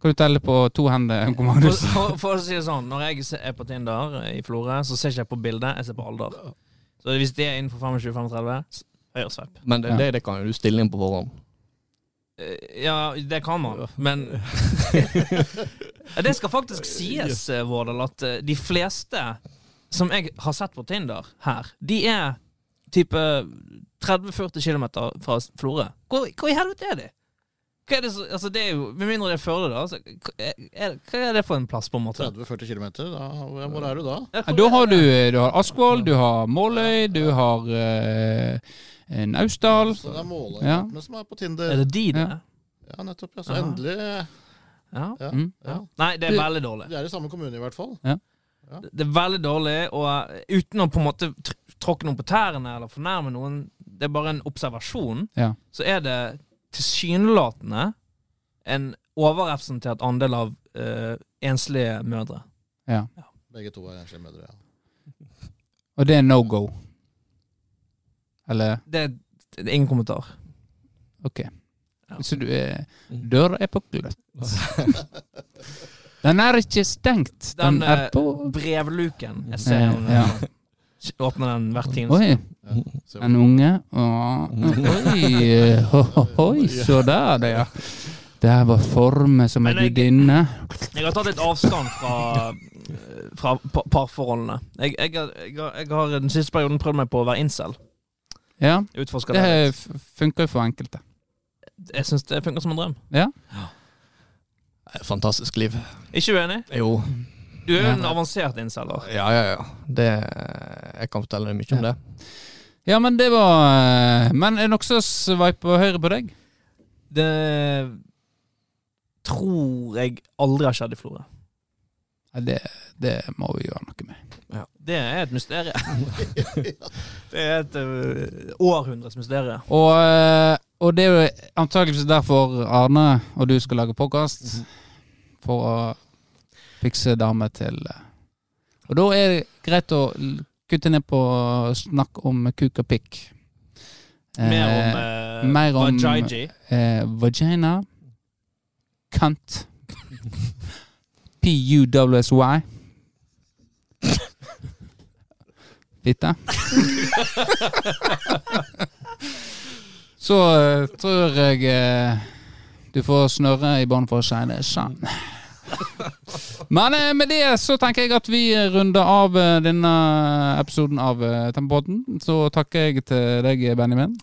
S1: Kan du telle på to hender, Uncle
S4: For,
S1: Magnus?
S4: for, for å si det sånn, når jeg se- er på Tinder eh, i Florø, så ser ikke jeg på bildet, jeg ser på alder. Så hvis det er innenfor 25-35, s- høyre sveip.
S2: Men det,
S1: Ja.
S2: det, det kan jo du stille inn på forhånd.
S4: Eh, Ja, det kan man, men Ja, Det skal faktisk sies, eh, Vårdal, at eh, de fleste som jeg har sett på Tinder her, de er type 30-40 km fra Florø. Hvor, hvor i helvete er de? Hva er det, så, altså det er jo, Med mindre det er Førde, da. Så, hva, er, hva er det for en plass, på en måte?
S3: 30-40 km? Hvor er du da?
S4: Ja,
S1: Ja,
S4: hvor
S1: Da
S4: er
S1: har
S4: det?
S1: du, du har Askvoll, du har Måløy, du har eh, Naustdal.
S3: Så det er
S1: Ja.
S3: måleenheten som er på
S4: Er
S3: Tinder.
S4: det de, det?
S1: Ja.
S3: Ja, nettopp. Ja. Så
S4: Ja.
S3: endelig
S4: Ja.
S3: ja,
S1: Mm.
S3: ja.
S4: Nei, det er veldig dårlig.
S3: De er i samme kommune, i hvert fall.
S4: Det er veldig dårlig, og eh, uten å på en måte tr- tråkke noen på tærne eller fornærme noen, det er bare en observasjon,
S1: Ja.
S4: så er det tilsynelatende en overrepresentert andel av eh, enslige mødre.
S3: Begge to er enslige mødre. Ja.
S1: Og det er no go. Eller
S4: Det, det er ingen kommentar.
S1: OK.
S4: Ja.
S1: Så du er
S4: Mm.
S1: Døra er på gløtt. Den er ikke stengt. Den,
S4: Den,
S1: er
S4: eh,
S1: på
S4: Brevluken. Jeg ser
S1: Ja,
S4: den. eh,
S1: ja.
S4: Åpner den hvert tiende.
S1: Oi,
S3: Se
S1: en unge.
S4: Mm.
S1: Åh, Oi, eh, ho, ho, hoi, så der, det, ja. Der var formet som ei
S4: Men jeg-
S1: gudinne.
S4: Jeg har tatt litt avstand fra, eh, fra pa- parforholdene. Jeg, jeg, har- jeg, har- jeg har den siste perioden prøvd meg på å være incel.
S1: Ja,
S4: Utforska
S1: det
S4: det. litt.
S1: f- funker jo for enkelte.
S4: Jeg syns det funker som en drøm.
S2: Eh, Fantastisk liv.
S4: Ikke uenig?
S2: Jo.
S4: Du er jo
S1: Ja.
S4: en avansert incel.
S2: Ja, ja, ja. Det, eh, jeg kan fortelle deg mye om det.
S1: Ja, men det var eh, Men er det nokså sveip på høyre på deg?
S4: Det tror jeg aldri har skjedd i Florø.
S1: Ja, det, det må vi gjøre noe med.
S4: Det er et mysterium. det er et øh, århundres mysterium.
S1: Og, eh, og det er jo antakeligvis derfor Arne og du skal lage podkast. For å fikse damer til eh. Og da er det greit å l- kutte ned på snakk om kuk og pikk.
S4: Mer om,
S1: eh,
S4: eh,
S1: mer om-
S4: Vajayji.
S1: eh, Vagina. Kant. PUWSY. Fitte. Så eh, tror jeg eh, du får snørre i bånn for å si det sann. Men eh, med det så tenker jeg at vi runder av eh, denne episoden av eh, Tempopodden. Så takker jeg til deg, Benjamin.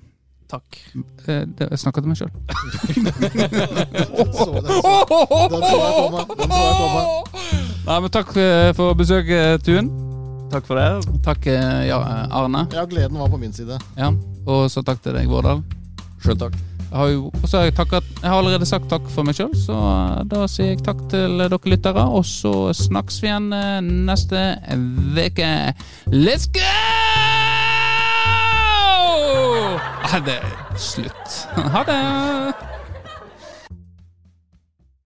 S4: Takk.
S1: Eh, det- Jeg snakka til meg sjøl.
S3: Den så- sånn- den så- den så jeg komme. Den så jeg komme.
S1: Nei, men takk eh, for besøket, Tuen.
S4: Takk for det.
S1: Takk, eh, ja, eh, Arne.
S3: Ja, gleden var på min side.
S1: Ja. Og så takk til deg, Vårdal.
S2: Sjøl takk.
S1: Jeg har jo, og så har jeg, takket, jeg har allerede sagt takk for meg sjøl, så eh, da sier jeg takk til eh, dere lyttere. Og så snakkes vi igjen eh, neste uke. Let's go! Nei, det er slutt. Ha det.